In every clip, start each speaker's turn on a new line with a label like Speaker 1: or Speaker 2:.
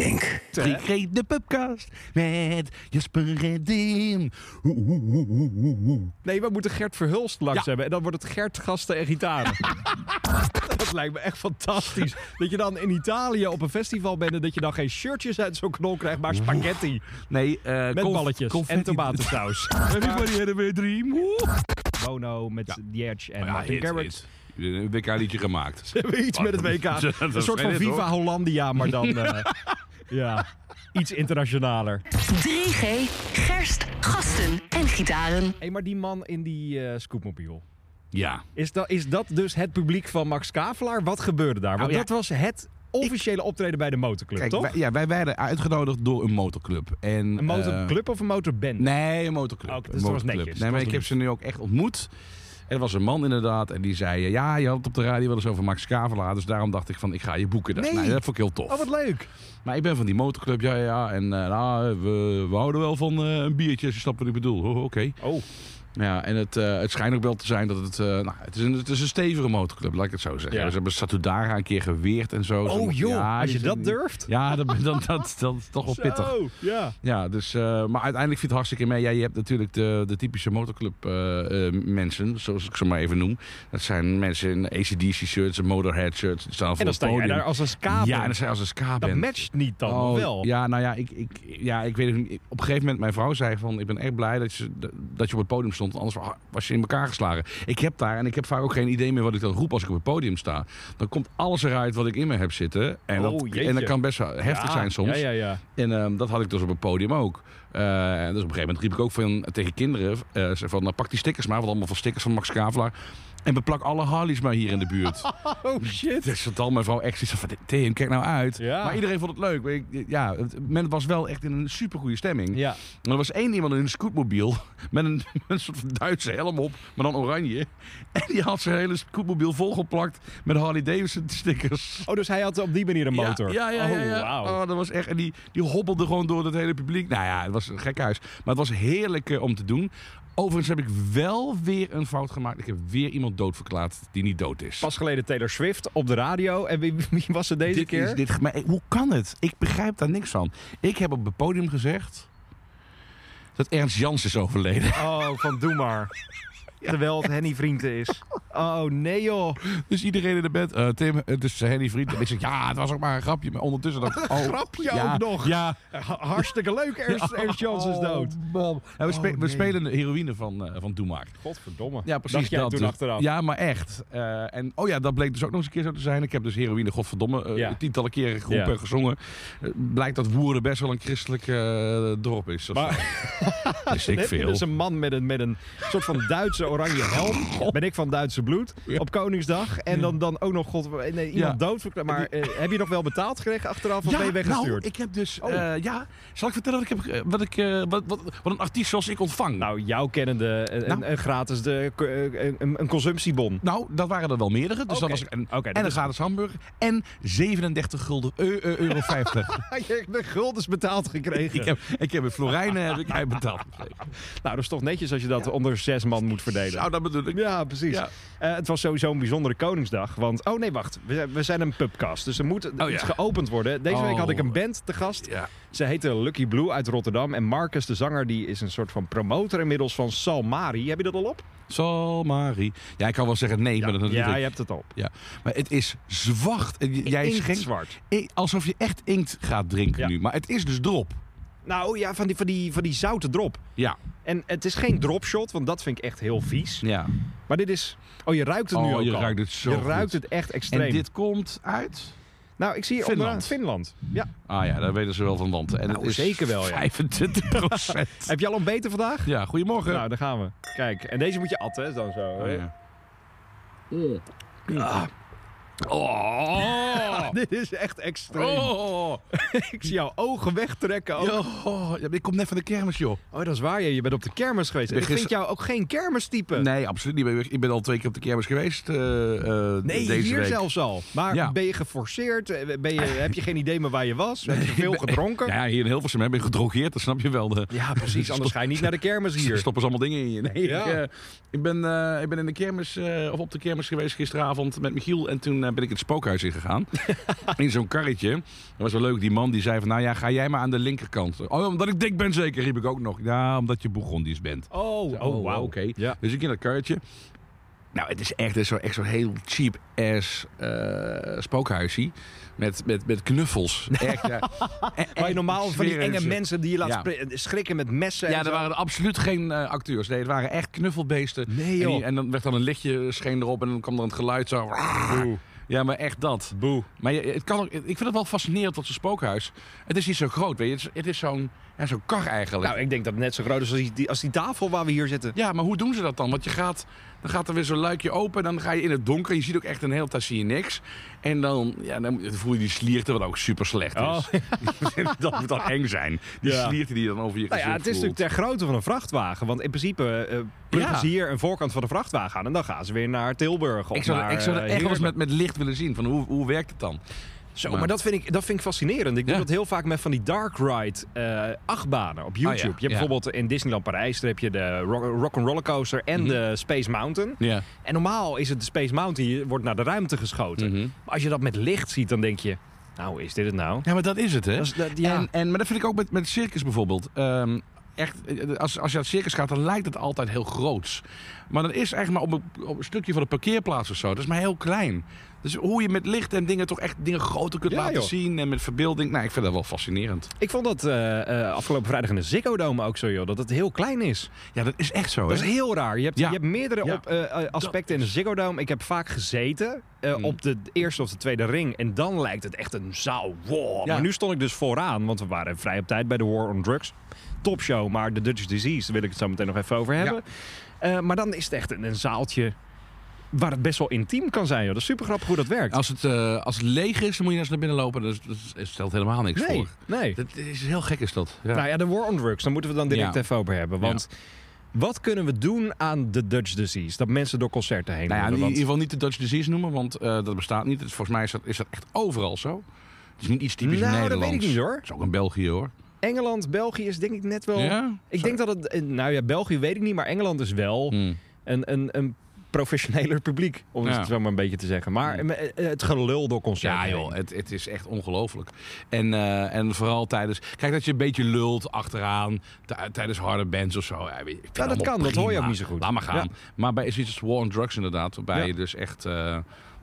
Speaker 1: Genk.
Speaker 2: Drie Greep de pubcast met Jasper en Dim. Oeh, oeh, oeh, oeh, oeh, oeh.
Speaker 3: Nee, we moeten Gert Verhulst langs hebben. En dan wordt het Gert, gasten en gitaren. dat lijkt me echt fantastisch. Dat je dan in Italië op een festival bent... en dat je dan geen shirtjes uit zo'n knol krijgt, maar spaghetti.
Speaker 2: Nee, eh
Speaker 3: Met
Speaker 2: conf-
Speaker 3: balletjes en
Speaker 2: confetti.
Speaker 3: tomatensaus.
Speaker 2: Everybody had a dream. Oeh. Oh
Speaker 3: Bono met
Speaker 4: Ja.
Speaker 3: Dierge en
Speaker 4: Maar ja,
Speaker 3: Martin
Speaker 4: hit,
Speaker 3: Garrix.
Speaker 4: hit. Een WK-liedje gemaakt.
Speaker 3: Ze hebben iets met het
Speaker 2: Oh,
Speaker 3: WK.
Speaker 4: Dat is
Speaker 3: Een soort van
Speaker 4: geen hit,
Speaker 3: Viva
Speaker 4: hoor.
Speaker 3: Hollandia, maar dan... eh, ja, iets internationaler.
Speaker 5: 3G, gerst, gasten en gitaren.
Speaker 3: Hé, maar die man in die eh, scootmobiel.
Speaker 4: Ja.
Speaker 3: Is dat, is dat dus het publiek van Max Kavelaar? Wat gebeurde daar? Want
Speaker 2: Nou, ja.
Speaker 3: dat was het officiële optreden bij de motorclub,
Speaker 4: Oh, Kijk,
Speaker 3: toch?
Speaker 4: wij, ja, wij werden uitgenodigd door een motorclub. En,
Speaker 3: Een motorclub of een motorband?
Speaker 4: Eh, nee, een motorclub.
Speaker 3: Oké, dus dat
Speaker 4: Een
Speaker 3: was
Speaker 4: motorclub.
Speaker 3: netjes.
Speaker 4: Nee,
Speaker 3: Dat
Speaker 4: maar
Speaker 3: was
Speaker 4: ik heb
Speaker 3: lief.
Speaker 4: ze nu ook echt ontmoet. En er was een man inderdaad en die zei... eh, Ja, je had het op de radio wel eens over Max Kavelaar. Dus daarom dacht ik van, ik ga je boeken. Dat,
Speaker 3: Nee.
Speaker 4: nou, dat vond ik heel tof.
Speaker 3: Oh, wat leuk.
Speaker 4: Maar ik ben van die motorclub, ja, ja, ja. En eh, nou, we, we houden wel van eh, een biertje, als je snapt wat ik bedoel. Oh, Oké.
Speaker 3: Oh,
Speaker 4: Ja, en het, eh, het schijnt ook wel te zijn dat het... eh, nou, het, is een, het is een stevige motorclub, laat ik het zo zeggen.
Speaker 3: Ja.
Speaker 4: Ze hebben Satudara een keer geweerd en zo.
Speaker 3: oh
Speaker 4: Ze-
Speaker 3: joh,
Speaker 4: ja,
Speaker 3: als je
Speaker 4: die zijn-
Speaker 3: dat durft.
Speaker 4: Ja, dat, dat, dat, dat is toch wel pittig.
Speaker 3: Zo, ja.
Speaker 4: Ja, dus, eh, maar uiteindelijk viel het hartstikke mee. Ja, je hebt natuurlijk de, de typische motorclub eh, eh, mensen, zoals ik ze maar even noem. Dat zijn mensen in ACDC-shirts en Motorhead-shirts. die staan
Speaker 3: En
Speaker 4: voor
Speaker 3: dan
Speaker 4: het
Speaker 3: sta je
Speaker 4: podium.
Speaker 3: daar als een skaper.
Speaker 4: Ja, en dan zijn als een ska-band.
Speaker 3: dat matcht niet dan,
Speaker 4: Oh,
Speaker 3: of wel?
Speaker 4: Ja, nou ja, ik, ik, ja, ik weet het niet. Op een gegeven moment, mijn vrouw zei van... ik ben echt blij dat je, dat je op het podium stond. Anders wa- was je in elkaar geslagen. Ik heb daar, en ik heb vaak ook geen idee meer wat ik dan roep als ik op het podium sta. Dan komt alles eruit wat ik in me heb zitten. En,
Speaker 3: Oh,
Speaker 4: dat,
Speaker 3: jeetje.
Speaker 4: en dat kan best wel heftig
Speaker 3: Ja,
Speaker 4: zijn soms.
Speaker 3: Ja, ja, ja.
Speaker 4: En ehm, dat had ik dus op het podium ook. Eh, en dus op een gegeven moment riep ik ook van, tegen kinderen... eh, ze van, nou, pak die stickers maar, want allemaal van stickers van Max Kavelaar. En beplak alle Harleys maar hier in de buurt.
Speaker 3: Oh shit.
Speaker 4: Dus dat al mijn vrouw echt zoiets van, Tim, kijk nou uit.
Speaker 3: Ja.
Speaker 4: Maar iedereen vond het leuk. Maar ik- Ja, het, men was wel echt in een supergoeie stemming.
Speaker 3: Ja.
Speaker 4: Maar er was één iemand in een scootmobiel met een, met een soort van Duitse helm op, maar dan oranje. En die had zijn hele scootmobiel volgeplakt met Harley Davidson stickers.
Speaker 3: Oh, dus hij had op die manier een motor.
Speaker 4: Ja, ja, ja. ja,
Speaker 3: Oh,
Speaker 4: ja.
Speaker 3: wauw.
Speaker 4: Oh, dat was echt, en die, die hobbelde gewoon door het hele publiek. Nou ja, het was een gek huis. Maar het was heerlijk eh, om te doen. Overigens heb ik wel weer een fout gemaakt. Ik heb weer iemand doodverklaard die niet dood is.
Speaker 3: Pas geleden Taylor Swift op de radio. En wie, wie was het deze
Speaker 4: dit
Speaker 3: keer?
Speaker 4: Is, dit, maar eh, hoe kan het? Ik begrijp daar niks van. Ik heb op het podium gezegd dat Ernst Jans is overleden.
Speaker 3: Oh, van doe maar. Terwijl het Henny Vrienden is. Oh, nee joh.
Speaker 4: Dus iedereen in de bed, eh, Tim, het is Henny Vriend. En ik zeg, ja, het was ook maar een grapje. Maar ondertussen dacht ik, oh,
Speaker 3: Grapje
Speaker 4: ja,
Speaker 3: ook nog.
Speaker 4: Ja.
Speaker 3: Ha- Hartstikke leuk, Ernst, Ernst Jans is dood.
Speaker 4: Oh, man. Ja, we, spe- we spelen de heroïne van, eh van Doe Maar.
Speaker 3: Godverdomme.
Speaker 4: Ja, precies
Speaker 3: Dacht jij
Speaker 4: dat.
Speaker 3: toen
Speaker 4: dus.
Speaker 3: achteraf?
Speaker 4: Ja, maar echt. Eh, en oh ja, dat bleek dus ook nog eens een keer zo te zijn. Ik heb dus heroïne, godverdomme, eh,
Speaker 3: Ja.
Speaker 4: tientallen keren geroepen
Speaker 3: Ja.
Speaker 4: en gezongen. Eh, blijkt dat Woerden best wel een christelijk eh, dorp is. Dat
Speaker 3: Maar
Speaker 4: wist ik
Speaker 3: heb je
Speaker 4: veel.
Speaker 3: dus een man met een, met een soort van Duitse oranje helm. Ben ik van Duitse bloed.
Speaker 4: Ja.
Speaker 3: Op Koningsdag. En dan, dan ook nog god, nee, iemand
Speaker 4: Ja.
Speaker 3: doodverklaard. Maar eh, heb je nog wel betaald gekregen achteraf? Of ben je weggestuurd? Oh.
Speaker 4: Nou, ik heb dus. eh, ja, zal ik vertellen wat ik heb, eh, wat, ik, eh, wat, wat, wat een artiest zoals ik ontvang?
Speaker 3: Nou, jouw kennende, een,
Speaker 4: Nou.
Speaker 3: een gratis de, eh, een, een consumptiebon.
Speaker 4: Nou, dat waren er wel meerdere. Dus
Speaker 3: Oké.
Speaker 4: dat was en,
Speaker 3: Oké, dat
Speaker 4: en een
Speaker 3: is-
Speaker 4: gratis hamburger. En 37 gulden, eh, eh, euro 50.
Speaker 3: Je hebt de guldens betaald gekregen.
Speaker 4: ik, heb, ik heb in Florijnen heb ik uitbetaald.
Speaker 3: Nou, dat is toch netjes als je dat onder zes man moet verdelen.
Speaker 4: Nou, dat bedoel ik.
Speaker 3: Ja, precies.
Speaker 4: Ja.
Speaker 3: Eh, het was sowieso een bijzondere Koningsdag. Want, oh nee, wacht. We, we zijn een pubcast. Dus er moet
Speaker 4: Oh, ja.
Speaker 3: iets geopend worden. Deze week
Speaker 4: Oh.
Speaker 3: had ik een band te gast.
Speaker 4: Ja.
Speaker 3: Ze heette Lucky Blue uit Rotterdam. En Marcus, de zanger, die is een soort van promotor inmiddels van Salmari. Heb je dat al op?
Speaker 4: Salmari. Ja, ik kan wel zeggen nee, maar dat natuurlijk.
Speaker 3: ja
Speaker 4: Ja,
Speaker 3: je hebt het al.
Speaker 4: Maar het is zwacht. En j- Jij schenkt
Speaker 3: zwart.
Speaker 4: eh, alsof je echt inkt gaat drinken
Speaker 3: Ja.
Speaker 4: nu. Maar het is dus drop.
Speaker 3: Nou ja, van die, van, die, van die zoute drop.
Speaker 4: Ja.
Speaker 3: En het is geen dropshot, want dat vind ik echt heel vies.
Speaker 4: ja.
Speaker 3: Maar dit is... Oh, je ruikt het nu
Speaker 4: Oh,
Speaker 3: ook
Speaker 4: je
Speaker 3: al.
Speaker 4: ruikt het zo.
Speaker 3: je
Speaker 4: goed.
Speaker 3: ruikt het echt extreem.
Speaker 4: En dit komt uit.
Speaker 3: Nou, ik zie hier
Speaker 4: Finland.
Speaker 3: onderaan Finland. Ja.
Speaker 4: Ah ja, daar weten ze wel van wanten. En
Speaker 3: Nou,
Speaker 4: het is
Speaker 3: zeker wel, ja.
Speaker 4: 25
Speaker 3: Heb je al ontbeten vandaag?
Speaker 4: ja, goedemorgen.
Speaker 3: Nou, daar gaan we. Kijk, en deze moet je atten, hè, dan zo.
Speaker 4: Oh, ja. Ah. Oh.
Speaker 3: Dit is echt extreem.
Speaker 4: Oh.
Speaker 3: Ik zie jouw ogen wegtrekken. Ook.
Speaker 4: Oh. Ja, ik kom net van de kermis, joh.
Speaker 3: Oh, dat is waar. Je, je bent op de kermis geweest.
Speaker 4: Ik ben
Speaker 3: Ik vind
Speaker 4: gister-
Speaker 3: jou ook geen kermistype.
Speaker 4: Nee, absoluut niet. Ik ben al twee keer op de kermis geweest eh, eh,
Speaker 3: Nee,
Speaker 4: deze
Speaker 3: hier
Speaker 4: week.
Speaker 3: zelfs al. Maar
Speaker 4: Ja.
Speaker 3: ben je geforceerd? Eh, Ben je, heb je geen idee meer waar je was? Heb je veel gedronken?
Speaker 4: Ja, hier in Hilversum hè, ben je gedrogeerd, dat snap je wel. De,
Speaker 3: Ja, precies. Anders
Speaker 4: Stop-
Speaker 3: ga je niet naar de kermis
Speaker 4: Hier
Speaker 3: hier.
Speaker 4: stoppen ze allemaal dingen in je. Nee,
Speaker 3: Ja.
Speaker 4: ik, eh, ik, ben, eh, ik ben in de kermis, eh, of op de kermis geweest gisteravond met Michiel. En toen eh, ben ik het spookhuis ingegaan. in zo'n karretje. Dat was wel leuk. Die man die zei van, nou ja, ga jij maar aan de linkerkant. Oh, omdat ik dik ben zeker, riep ik ook nog. Ja, omdat je Bourgondisch bent.
Speaker 3: Oh, oh,
Speaker 4: Oh, wauw, oké.
Speaker 3: Ja.
Speaker 4: Dus ik in dat karretje. Nou, het is echt, zo, echt zo'n heel cheap ass eh spookhuisie. Met, met, met knuffels. Echt, ja. En-
Speaker 3: Waar je
Speaker 4: en
Speaker 3: normaal van die
Speaker 4: smeren
Speaker 3: enge
Speaker 4: ze.
Speaker 3: mensen die je laat
Speaker 4: Ja.
Speaker 3: spri- eh, schrikken met messen. en
Speaker 4: Ja, er
Speaker 3: zo.
Speaker 4: waren absoluut geen eh, acteurs. Nee, het waren echt knuffelbeesten.
Speaker 3: Nee,
Speaker 4: En, die-
Speaker 3: joh.
Speaker 4: en dan werd dan een lichtje eh, scheen erop en dan kwam er een geluid zo.
Speaker 3: Boe.
Speaker 4: Ja, maar echt dat.
Speaker 3: Boe.
Speaker 4: Maar je, het kan ook, ik vind het wel fascinerend dat zo'n spookhuis. Het is niet zo groot, weet je. Het is, het is zo'n ja, zo'n kar eigenlijk.
Speaker 3: Nou, ik denk dat het net zo groot is als die, die- als die tafel waar we hier zitten.
Speaker 4: Ja, maar hoe doen ze dat dan? Want je gaat, dan gaat er weer zo'n luikje open. Dan ga je in het donker. Je ziet ook echt een hele tijd zie je niks. En dan, ja, dan voel je die slierte, wat ook super slecht is.
Speaker 3: Oh.
Speaker 4: dat moet dan eng zijn. Die
Speaker 3: Ja.
Speaker 4: slierte die je dan over je
Speaker 3: Nou
Speaker 4: gezicht
Speaker 3: ja, het is
Speaker 4: voelt.
Speaker 3: natuurlijk ter grootte van een vrachtwagen. Want in principe eh pluggen
Speaker 4: Ja.
Speaker 3: ze hier een voorkant van de vrachtwagen aan. En dan gaan ze weer naar Tilburg. Of
Speaker 4: Ik zou,
Speaker 3: naar,
Speaker 4: ik zou
Speaker 3: eh,
Speaker 4: dat echt wel eens
Speaker 3: Heerlen.
Speaker 4: met, met licht willen zien. Van hoe, hoe werkt het dan?
Speaker 3: Zo, maar dat vind, ik, dat vind ik fascinerend. Ik doe
Speaker 4: Ja.
Speaker 3: dat heel vaak met van die dark ride eh, achtbanen op YouTube.
Speaker 4: ja,
Speaker 3: Je hebt
Speaker 4: ja.
Speaker 3: bijvoorbeeld in Disneyland Parijs, daar heb je de Rock, Rock Coaster en de Space Mountain.
Speaker 4: Ja.
Speaker 3: En normaal is het de Space Mountain, je wordt naar de ruimte geschoten.
Speaker 4: Mhm.
Speaker 3: Maar als je dat met licht ziet, dan denk je, nou is dit het nou?
Speaker 4: ja, maar dat is het, hè?
Speaker 3: Dat is- dat- ja.
Speaker 4: en, en, maar dat vind ik ook met, met circus bijvoorbeeld. Ehm, echt, eh, als, als je naar het circus gaat, dan lijkt het altijd heel groots. Maar dat is eigenlijk maar op een, op een stukje van de parkeerplaats of zo. Dat is maar heel klein. Dus hoe je met licht en dingen toch echt dingen groter kunt
Speaker 3: Ja,
Speaker 4: laten
Speaker 3: joh.
Speaker 4: zien. En met verbeelding. Nou, ik vind dat wel fascinerend.
Speaker 3: Ik vond dat eh, eh, afgelopen vrijdag in de Ziggo Dome ook zo, joh. Dat het heel klein is.
Speaker 4: Ja, dat is echt zo,
Speaker 3: Dat is heel raar. Je hebt,
Speaker 4: Ja.
Speaker 3: je hebt meerdere
Speaker 4: Ja.
Speaker 3: op, eh, eh, aspecten in de Ziggo Dome. Ik heb vaak gezeten eh,
Speaker 4: Mm.
Speaker 3: op de eerste of de tweede ring. En dan lijkt het echt een zaal. Wow.
Speaker 4: Ja.
Speaker 3: Maar nu stond ik dus vooraan, want we waren vrij op tijd bij de War on Drugs. Topshow, maar de Dutch Disease, daar wil ik het zo meteen nog even over hebben. Eh, maar dan is het echt een, een zaaltje waar het best wel intiem kan zijn. Joh. Dat is super grappig hoe dat werkt.
Speaker 4: Als het, eh, als het leeg is, dan moet je eens naar binnen lopen. Dat, is- dat is- stelt helemaal niks
Speaker 3: nee,
Speaker 4: voor.
Speaker 3: nee.
Speaker 4: Dat is heel gek, is dat. Ja.
Speaker 3: Nou ja, de War on Drugs, daar moeten we het dan direct
Speaker 4: Ja.
Speaker 3: even over hebben. Want wat kunnen we doen aan de Dutch Disease? Dat mensen door concerten heen
Speaker 4: Nou ja, in
Speaker 3: worden, want-
Speaker 4: ieder geval niet de Dutch disease noemen, want eh, dat bestaat niet. Dus volgens mij is dat, is dat echt overal zo. Het is niet iets typisch
Speaker 3: nou, dat
Speaker 4: Nederlands.
Speaker 3: weet ik niet hoor.
Speaker 4: Het is ook in België hoor.
Speaker 3: Engeland, België is denk ik net wel.
Speaker 4: Ja?
Speaker 3: Ik denk dat het. eh, Nou ja, België weet ik niet, maar Engeland is wel
Speaker 4: Hmm.
Speaker 3: een, een, een professioneler publiek. Om
Speaker 4: Ja.
Speaker 3: het zo maar een beetje te zeggen. Maar
Speaker 4: Hmm.
Speaker 3: eh, eh, het gelul door concerten.
Speaker 4: Ja joh, eh, het, het is echt ongelooflijk. En, eh, en vooral tijdens... Kijk dat je een beetje lult achteraan tij- tijdens harde bands of zo. Ja, ik vind
Speaker 3: dat
Speaker 4: allemaal
Speaker 3: kan, dat hoor je
Speaker 4: prima.
Speaker 3: ook niet zo goed.
Speaker 4: Laat maar gaan. Maar bij zoiets als War on Drugs inderdaad, waarbij
Speaker 3: Ja.
Speaker 4: je dus echt... eh,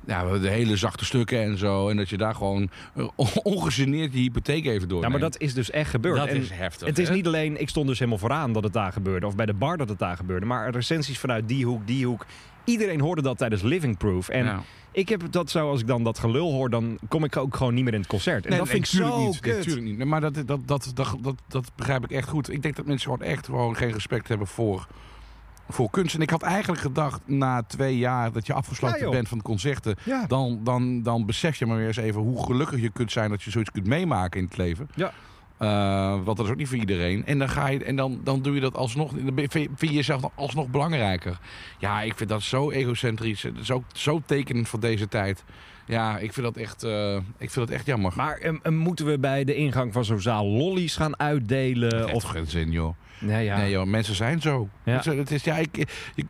Speaker 4: ja, de hele zachte stukken en zo. En dat je daar gewoon eh, ongegeneerd je hypotheek even door.
Speaker 3: Nou, maar dat is dus echt gebeurd.
Speaker 4: dat
Speaker 3: En
Speaker 4: is heftig.
Speaker 3: het is
Speaker 4: hè?
Speaker 3: niet alleen, ik stond dus helemaal vooraan dat het daar gebeurde. Of bij de bar dat het daar gebeurde. Maar recensies vanuit die hoek, die hoek. Iedereen hoorde dat tijdens Living Proof. En
Speaker 4: Ja.
Speaker 3: ik heb dat zo, als ik dan dat gelul hoor, dan kom ik ook gewoon niet meer in het concert. En
Speaker 4: Nee,
Speaker 3: dat
Speaker 4: nee,
Speaker 3: vind ik
Speaker 4: tuurlijk
Speaker 3: zo
Speaker 4: niet,
Speaker 3: kut.
Speaker 4: Natuurlijk niet. Nee, maar dat, dat, dat, dat, dat, dat begrijp ik echt goed. Ik denk dat mensen gewoon echt gewoon geen respect hebben voor, voor kunst. En ik had eigenlijk gedacht na twee jaar dat je afgesloten
Speaker 3: Ja, joh.
Speaker 4: bent van concerten.
Speaker 3: Ja.
Speaker 4: Dan, dan, dan besef je maar weer eens even hoe gelukkig je kunt zijn dat je zoiets kunt meemaken in het leven.
Speaker 3: Ja.
Speaker 4: Eh, want dat is ook niet voor iedereen. En dan, ga je, en dan, dan doe je dat alsnog. Dan ben je- vind je- vind je jezelf dan alsnog belangrijker. Ja, ik vind dat zo egocentrisch. Dat is ook zo tekenend voor deze tijd. Ja, ik vind dat echt, eh, ik vind dat echt jammer.
Speaker 3: Maar eh, eh, moeten we bij de ingang van zo'n zaal lollies gaan uitdelen?
Speaker 4: Eh, Of
Speaker 3: Of...
Speaker 4: geen zin, joh.
Speaker 3: Nee, ja.
Speaker 4: Nee, joh, mensen zijn zo.
Speaker 3: Ja.
Speaker 4: Mensen- het is, ja, ik, je,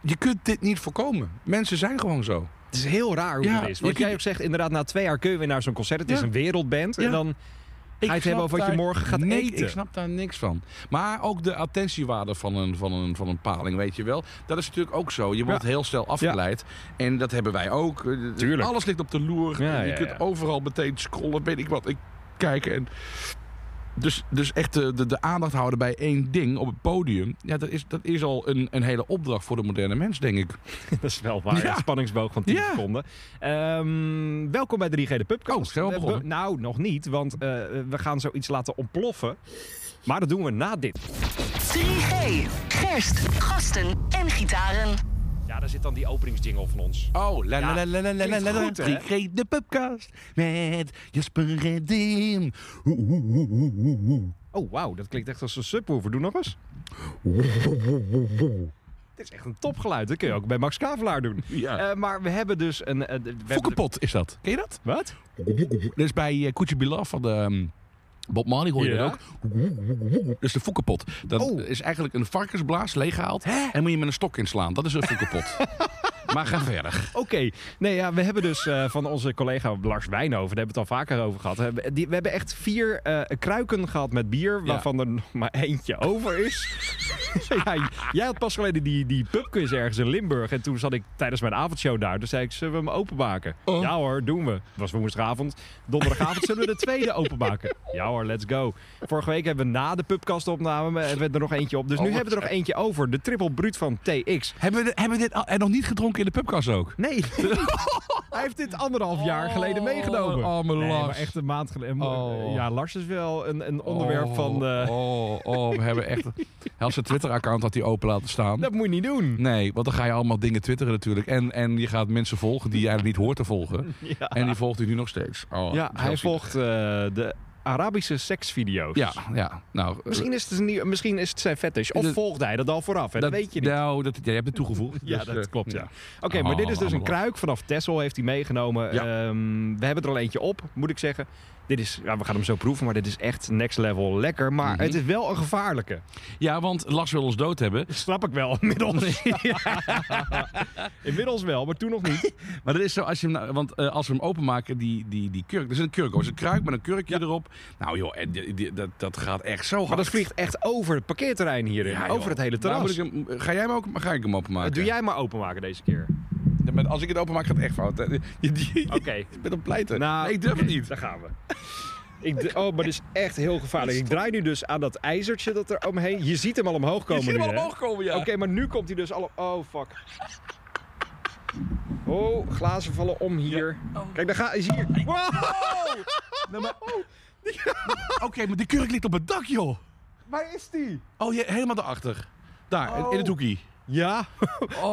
Speaker 4: je kunt dit niet voorkomen. Mensen zijn gewoon zo.
Speaker 3: Het is heel raar hoe
Speaker 4: Ja,
Speaker 3: het is.
Speaker 4: je
Speaker 3: Want jij
Speaker 4: kunt-
Speaker 3: ook zegt, inderdaad, na twee jaar kun je weer naar zo'n concert. Het is
Speaker 4: Ja.
Speaker 3: een wereldband.
Speaker 4: Ja.
Speaker 3: En dan ga je het hebben over wat je morgen gaat
Speaker 4: nee,
Speaker 3: eten.
Speaker 4: Ik snap daar niks van. Maar ook de attentiewaarde van een, van, een, van een paling, weet je wel. Dat is natuurlijk ook zo. Je wordt heel snel afgeleid. En dat hebben wij ook. Eh,
Speaker 3: Tuurlijk.
Speaker 4: Alles ligt op de loer.
Speaker 3: Ja,
Speaker 4: je
Speaker 3: ja,
Speaker 4: kunt
Speaker 3: ja.
Speaker 4: overal meteen scrollen, weet ik wat. Ik kijken en... Dus, dus echt de, de, de aandacht houden bij één ding op het podium. Ja, dat is, dat is al een, een hele opdracht voor de moderne mens, denk ik.
Speaker 3: Dat is wel waar.
Speaker 4: Ja.
Speaker 3: Een spanningsboog van 10
Speaker 4: Ja.
Speaker 3: seconden. Ehm, welkom bij 3G de Pubcast.
Speaker 4: Oh, zijn we al
Speaker 3: Eh,
Speaker 4: begonnen?
Speaker 3: we- nou, nog niet. Want eh, we gaan zoiets laten ontploffen. Maar dat doen we na dit.
Speaker 5: 3G, gerst, gasten en gitaren.
Speaker 3: Ja, daar zit dan die openingsjingle van ons.
Speaker 4: Oh, la
Speaker 3: Ja,
Speaker 4: la la la la la
Speaker 3: klinkt
Speaker 4: la la.
Speaker 3: goed, hè?
Speaker 4: 3G de pubcast.
Speaker 2: Met Jasper Redim. Oeh, oeh, oeh, oeh, oeh, oeh.
Speaker 3: Oh, wauw. Dat klinkt echt als een subwoofer. Doe nog eens. Dit is echt een topgeluid. Dat kun je ook bij Max Kavelaar doen.
Speaker 4: Ja.
Speaker 3: Eh, maar we hebben dus een... eh, d- we hebben-
Speaker 4: Fokkenpot is dat. Ken je dat?
Speaker 3: Wat?
Speaker 4: Dat is bij eh, Koetje Bilal van de ehm, Bob Marley hoor je
Speaker 3: Ja.
Speaker 4: dat ook. Dus de foekenpot. Dat
Speaker 3: Oh.
Speaker 4: is eigenlijk een varkensblaas leeggehaald. En dan moet je met een stok inslaan. Dat is een foekenpot. Maar ga verder.
Speaker 3: Oké, nee, ja, we hebben dus eh, van onze collega Lars Wijnhoven, daar hebben we het al vaker over gehad. hè, we- die- We hebben echt vier eh, kruiken gehad met bier, waarvan er nog maar eentje over is. ja, jij had pas geleden die, die pubquiz ergens in Limburg. En toen zat ik tijdens mijn avondshow daar. Toen zei ik, zullen we hem openmaken? Ja hoor, doen we. Het was woensdagavond. Donderdagavond zullen we de tweede openmaken. Ja hoor, let's go. Vorige week hebben we na de pubkastopname hebben we er nog eentje op. Dus nu
Speaker 4: wat
Speaker 3: hebben we er nog eentje over. De triple bruut van TX.
Speaker 4: Hebben we, hebben we dit al- en nog niet gedronken in de pubkast ook?
Speaker 3: Nee. Hij heeft dit anderhalf jaar geleden
Speaker 4: Oh,
Speaker 3: meegenomen.
Speaker 4: arme
Speaker 3: Nee,
Speaker 4: Lars.
Speaker 3: maar echt een maand geleden.
Speaker 4: Oh.
Speaker 3: Ja, Lars is wel een, een onderwerp
Speaker 4: Oh,
Speaker 3: van... eh,
Speaker 4: Oh, oh, we hebben echt... Hij had zijn Twitter-account had hij open laten staan.
Speaker 3: Dat moet je niet doen.
Speaker 4: Nee, want dan ga je allemaal dingen twitteren natuurlijk. En, en je gaat mensen volgen die je eigenlijk niet hoort te volgen.
Speaker 3: Ja.
Speaker 4: En die volgt hij nu nog steeds. Oh,
Speaker 3: Ja,
Speaker 4: heel
Speaker 3: hij
Speaker 4: zielig.
Speaker 3: volgt eh, de Arabische seksvideo's.
Speaker 4: Ja, ja. Nou, eh,
Speaker 3: Misschien is het, een nieuw- misschien is het zijn fetish. Of
Speaker 4: Dat-
Speaker 3: volgde hij dat al vooraf? Hè? Dat, weet je niet.
Speaker 4: Nou, dat, ja, je hebt het toegevoegd.
Speaker 3: ja,
Speaker 4: dus,
Speaker 3: dat
Speaker 4: eh,
Speaker 3: klopt, ja.
Speaker 4: ja.
Speaker 3: Oké, maar dit is dus een
Speaker 4: allemaal.
Speaker 3: kruik. Vanaf Tessel heeft hij meegenomen.
Speaker 4: Ja.
Speaker 3: Ehm, we hebben er al eentje op, moet ik zeggen. Dit is, ja, we gaan hem zo proeven, maar dit is echt next level lekker. Maar
Speaker 4: Mhm.
Speaker 3: het is wel een gevaarlijke.
Speaker 4: Ja, want Lars wil ons dood hebben.
Speaker 3: Snap ik wel, inmiddels. inmiddels wel, maar toen nog niet.
Speaker 4: Maar dat is zo, als je hem, nou- want eh, als we hem openmaken, die, die, die kurk. Er is een kurk, hoor. Er is een kruik met een kurkje erop. Nou joh, en die- die- dat, dat gaat echt zo hard.
Speaker 3: Maar dat vliegt echt over het parkeerterrein hierin.
Speaker 4: Ja, joh.
Speaker 3: over het hele
Speaker 4: Nou,
Speaker 3: terras.
Speaker 4: moet ik hem- ga jij hem ook, ga ik hem openmaken?
Speaker 3: Doe jij maar openmaken deze keer.
Speaker 4: Ja, maar als ik het openmaak, gaat het echt fout. Je, je,
Speaker 3: Oké.
Speaker 4: je bent een pleiter.
Speaker 3: Nou,
Speaker 4: Nee, ik durf
Speaker 3: oké,
Speaker 4: het niet.
Speaker 3: Daar gaan we. Ik d- oh, maar dit is echt heel gevaarlijk. Ik draai nu dus aan dat ijzertje dat er omheen. Je ziet hem al omhoog komen.
Speaker 4: Je ziet
Speaker 3: nu,
Speaker 4: hem al
Speaker 3: hè?
Speaker 4: omhoog komen, ja.
Speaker 3: Oké, maar nu komt hij dus al. Oh, fuck. Oh, glazen vallen om hier. Kijk, daar gaat hij hier. Wow! Nou, Oh.
Speaker 4: Oké, maar die kurk ligt op het dak, joh.
Speaker 3: Waar is die?
Speaker 4: Oh, je, helemaal daarachter. Daar, in- in het
Speaker 3: Oh.
Speaker 4: hoekie. Oh.
Speaker 3: Ja,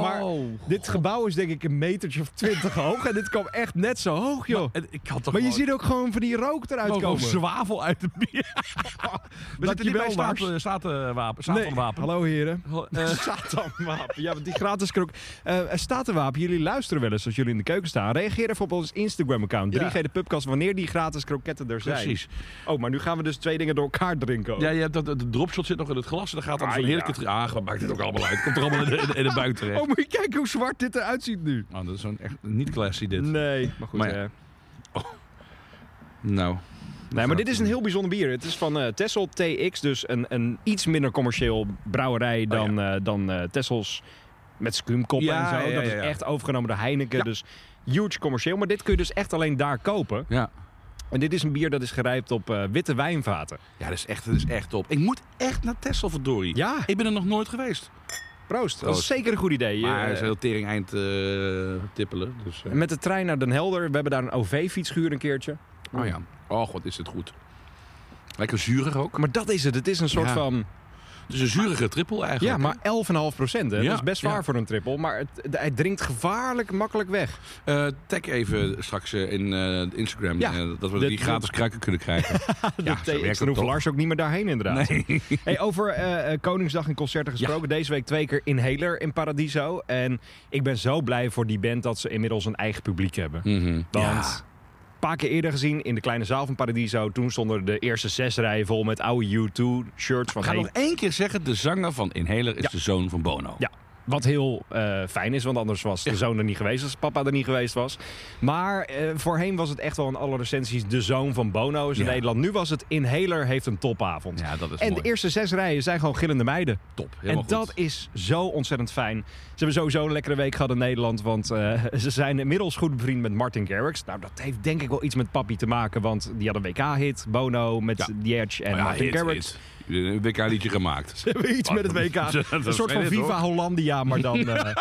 Speaker 3: maar dit gebouw is denk ik een metertje of twintig hoog. En dit kwam echt net zo hoog, joh. Maar,
Speaker 4: En Ik had toch
Speaker 3: je
Speaker 4: gewoon-
Speaker 3: ziet ook gewoon van die rook eruit
Speaker 4: gewoon
Speaker 3: komen.
Speaker 4: zwavel uit de bier. We zitten
Speaker 3: je
Speaker 4: niet
Speaker 3: wel,
Speaker 4: bij staat,
Speaker 3: Lars.
Speaker 4: eh, staat, eh, wapen-
Speaker 3: Nee,
Speaker 4: Statenwapen.
Speaker 3: Hallo heren.
Speaker 4: Eh,
Speaker 3: Satanwapen. Ja, want die gratis krok. Eh, er staat een wapen. Jullie luisteren wel eens als jullie in de keuken staan. Reageer even op ons Instagram-account.
Speaker 4: Ja.
Speaker 3: 3G de Pubcast. Wanneer die gratis kroketten er zijn.
Speaker 4: Precies.
Speaker 3: Oh, maar nu gaan we dus twee dingen door elkaar drinken. ook.
Speaker 4: Ja, je hebt dat, de dropshot zit nog in het glas. En dan gaat dan
Speaker 3: Ah,
Speaker 4: zo'n
Speaker 3: ja.
Speaker 4: heerlijke... tri- Ah, wat maakt het ook allemaal uit. Komt er allemaal in de, in de, in de buik terecht.
Speaker 3: Oh, moet je kijken hoe zwart dit eruit ziet nu.
Speaker 4: Oh, dat is zo'n echt niet classy dit.
Speaker 3: Nee, maar goed.
Speaker 4: Maar ja.
Speaker 3: eh.
Speaker 4: Nou.
Speaker 3: Nee, maar dit is een heel bijzonder bier. Het is van eh Tessel TX, dus een, een iets minder commercieel brouwerij dan, eh, dan eh, Tessels met skumkop
Speaker 4: Oh, Ja,
Speaker 3: en zo.
Speaker 4: ja,
Speaker 3: dat
Speaker 4: ja, ja.
Speaker 3: is echt overgenomen door Heineken,
Speaker 4: Ja.
Speaker 3: dus huge commercieel. Maar dit kun je dus echt alleen daar kopen.
Speaker 4: Ja.
Speaker 3: En dit is een bier dat is gerijpt op eh, witte wijnvaten.
Speaker 4: Ja, dat is echt, dat is echt top. Ik moet echt naar Texel, verdorie.
Speaker 3: Ja,
Speaker 4: Ik ben er nog nooit geweest.
Speaker 3: proost. Dat is
Speaker 4: Proost.
Speaker 3: zeker een goed idee. Je,
Speaker 4: Maar hij is
Speaker 3: eh,
Speaker 4: heel tering eind eh, tippelen. Dus, eh,
Speaker 3: Met de trein naar Den Helder. We hebben daar een OV-fietsguur een keertje.
Speaker 4: oh ja. Oh god, is het goed. Lekker zuurig ook.
Speaker 3: Maar dat is het. Het is een soort
Speaker 4: Ja.
Speaker 3: van...
Speaker 4: Het is een zurige trippel eigenlijk.
Speaker 3: Ja, maar 11,5 procent.
Speaker 4: Ja,
Speaker 3: Dat is best zwaar
Speaker 4: ja.
Speaker 3: voor een triple. Maar het, hij drinkt gevaarlijk makkelijk weg.
Speaker 4: Eh, tag even straks eh, in eh, Instagram.
Speaker 3: Ja.
Speaker 4: eh, dat we
Speaker 3: De-
Speaker 4: die
Speaker 3: de-
Speaker 4: gratis kruiken kunnen krijgen. ja, zo
Speaker 3: Ik
Speaker 4: werkt
Speaker 3: hoef
Speaker 4: het toch?
Speaker 3: Lars ook niet meer daarheen inderdaad. Hey, over eh, eh, Koningsdag en concerten gesproken. Deze week twee keer Inhaler in Paradiso. En ik ben zo blij voor die band dat ze inmiddels een eigen publiek hebben.
Speaker 4: Mhm.
Speaker 3: Want
Speaker 4: Ja.
Speaker 3: een paar keer eerder gezien in de kleine zaal van Paradiso. Toen stonden de eerste zes rijen vol met oude U2-shirts.
Speaker 4: Ik
Speaker 3: Van
Speaker 4: ga
Speaker 3: hey,
Speaker 4: nog één keer zeggen, de zanger van Inhaler is
Speaker 3: Ja.
Speaker 4: de zoon van Bono.
Speaker 3: Ja, wat heel eh, fijn is, want anders was de zoon er niet geweest als papa er niet geweest was. Maar eh, voorheen was het echt wel in alle recensies de zoon van Bono is in
Speaker 4: Ja.
Speaker 3: Nederland. Nu was het Inhaler heeft een topavond.
Speaker 4: Ja, dat is
Speaker 3: en
Speaker 4: mooi.
Speaker 3: de eerste zes rijen zijn gewoon gillende meiden.
Speaker 4: Top, helemaal
Speaker 3: en dat
Speaker 4: goed.
Speaker 3: is zo ontzettend fijn. Ze hebben sowieso een lekkere week gehad in Nederland. Want eh, ze zijn inmiddels goed bevriend met Martin Garrix. Nou, dat heeft denk ik wel iets met Papi te maken. Want die had een WK-hit. Bono met
Speaker 4: Ja.
Speaker 3: The Edge en
Speaker 4: Maar ja,
Speaker 3: Martin
Speaker 4: hit,
Speaker 3: Garrix.
Speaker 4: hit. Een WK-liedje gemaakt.
Speaker 3: Ze hebben iets met het WK.
Speaker 4: Dat is
Speaker 3: een soort van
Speaker 4: geen hit,
Speaker 3: Viva
Speaker 4: hoor.
Speaker 3: Hollandia, maar dan... eh,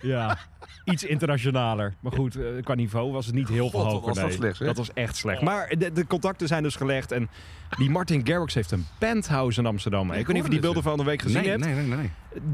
Speaker 3: ja, iets internationaler. Maar goed, eh, qua niveau was het niet heel veel
Speaker 4: God, wat
Speaker 3: hoger.
Speaker 4: was dat
Speaker 3: nee.
Speaker 4: slecht, hè?
Speaker 3: dat was echt slecht.
Speaker 4: Oh.
Speaker 3: Maar de, de contacten zijn dus gelegd. En die Martin Garrix heeft een penthouse in Amsterdam. Ik,
Speaker 4: Ik
Speaker 3: weet niet of je die
Speaker 4: hoorde
Speaker 3: beelden van de week gezien
Speaker 4: Nee, nee,
Speaker 3: hebt.
Speaker 4: nee, nee.